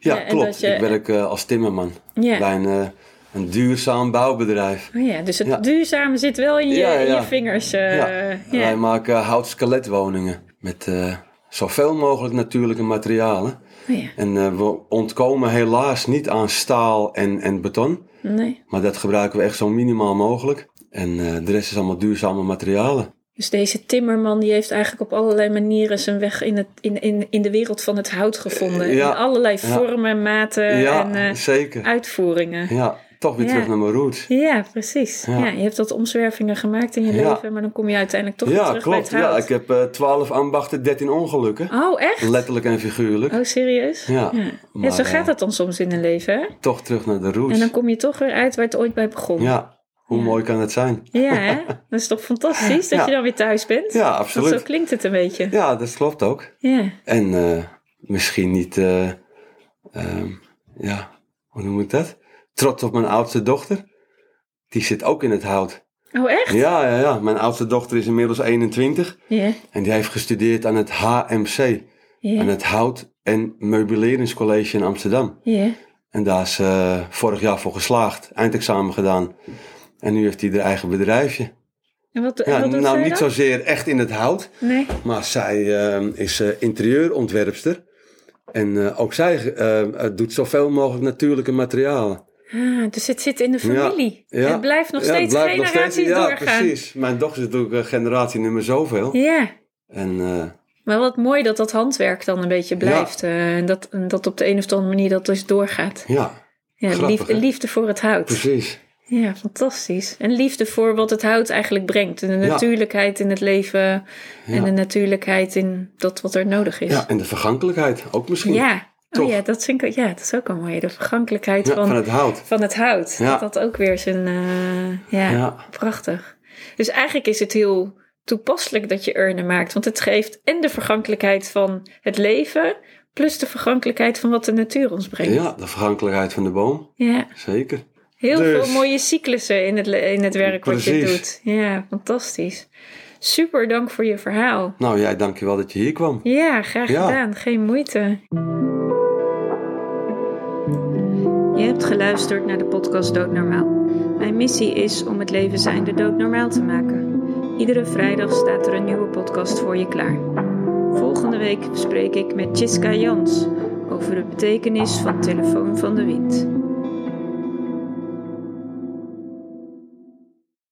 S2: Ja,
S1: ja, en dat
S2: klopt.
S1: je-
S2: Ik werk eh, als timmerman
S1: Ja.
S2: bij een, eh, een duurzaam bouwbedrijf.
S1: Oh ja, dus het
S2: Ja.
S1: duurzame zit wel in je,
S2: Ja, ja.
S1: in je vingers. eh,
S2: Ja.
S1: ja.
S2: Wij maken houtskeletwoningen met eh, zoveel mogelijk natuurlijke materialen.
S1: Oh ja.
S2: En eh, we ontkomen helaas niet aan staal en, en beton.
S1: Nee.
S2: Maar dat gebruiken we echt zo minimaal mogelijk. En eh, de rest is allemaal duurzame materialen.
S1: Dus deze timmerman die heeft eigenlijk op allerlei manieren zijn weg in, het, in, in, in de wereld van het hout gevonden.
S2: Eh, ja.
S1: In allerlei
S2: Ja.
S1: vormen, maten
S2: ja,
S1: en eh,
S2: zeker.
S1: uitvoeringen.
S2: Ja, toch weer
S1: Ja.
S2: terug naar mijn roots.
S1: Ja, precies. Ja.
S2: Ja.
S1: je hebt dat omzwervingen gemaakt in je
S2: Ja.
S1: leven, maar dan kom je uiteindelijk toch weer
S2: ja,
S1: terug bij
S2: klopt.
S1: het hout.
S2: Ja, ik heb eh 12 ambachten, 13 ongelukken.
S1: Oh, echt?
S2: Letterlijk en figuurlijk.
S1: Oh, serieus?
S2: Ja,
S1: Ja,
S2: maar,
S1: zo
S2: eh,
S1: gaat dat dan soms in een leven, hè?
S2: Toch terug naar de roots.
S1: En dan kom je toch weer uit waar het ooit bij begon.
S2: Ja, hoe
S1: Ja.
S2: mooi kan het zijn?
S1: Ja, hè? Dat is toch fantastisch dat
S2: Ja.
S1: je dan weer thuis bent?
S2: Ja,
S1: Want zo
S2: absoluut.
S1: klinkt het een beetje.
S2: Ja, dat klopt ook.
S1: Ja.
S2: En eh, misschien niet, eh, ehm, ja, hoe noem ik dat? Trots op mijn oudste dochter. Die zit ook in het hout.
S1: Oh, echt?
S2: Ja, ja, ja. Mijn oudste dochter is inmiddels 21
S1: Ja.
S2: en die heeft gestudeerd aan het HMC,
S1: Ja.
S2: aan het Hout- en Meubeleringscollege in Amsterdam.
S1: Ja.
S2: En daar is ze vorig jaar voor geslaagd, eindexamen gedaan. En nu heeft hij haar eigen bedrijfje.
S1: En wat, en
S2: Ja,
S1: wat doet
S2: nou,
S1: zij
S2: niet
S1: dan?
S2: zozeer echt in het hout,
S1: Nee.
S2: Maar zij eh, is eh, interieurontwerpster. En eh, ook zij eh, doet zoveel mogelijk natuurlijke materialen.
S1: Ah, dus het zit in de familie.
S2: ja.
S1: Het blijft nog
S2: Ja, het
S1: steeds
S2: blijft nog
S1: generaties
S2: ja,
S1: doorgaan.
S2: precies. Mijn dochter is natuurlijk eh, generatie nummer zoveel.
S1: Ja,
S2: En eh,
S1: maar wat mooi dat dat handwerk dan een beetje blijft. eh, En dat, en dat op de een of andere manier dat dus doorgaat.
S2: ja,
S1: Ja,
S2: Grappig,
S1: liefde,
S2: hè?
S1: liefde voor het hout.
S2: precies.
S1: Ja, fantastisch. En liefde voor wat het hout eigenlijk brengt. En de
S2: Ja.
S1: natuurlijkheid in het leven. En de natuurlijkheid in dat wat er nodig is.
S2: Ja, en de vergankelijkheid ook misschien.
S1: Ja. Oh
S2: Toch?
S1: ja, dat vind ik, ja, dat is ook al mooi. De vergankelijkheid
S2: Ja,
S1: van,
S2: van het hout.
S1: van het hout.
S2: Ja.
S1: Dat dat ook weer zijn... eh, ja,
S2: Ja.
S1: prachtig. Dus eigenlijk is het heel toepasselijk dat je urnen maakt. Want het geeft en de vergankelijkheid van het leven... plus de vergankelijkheid van wat de natuur ons brengt.
S2: Ja, de vergankelijkheid van de boom.
S1: ja.
S2: Zeker.
S1: Heel
S2: Dus-
S1: veel mooie cyclussen in het, le- in het werk wat je
S2: Precies.
S1: doet. Ja, fantastisch. Super, dank voor je verhaal.
S2: Nou jij, dankjewel dat je hier kwam.
S1: Ja, graag
S2: Ja.
S1: gedaan. Geen moeite. Je hebt geluisterd naar de podcast Doodnormaal. Mijn missie is om het leven zijnde doodnormaal te maken. Iedere vrijdag staat er een nieuwe podcast voor je klaar. Volgende week spreek ik met Chiska Jans over de betekenis van Telefoon van de Wind.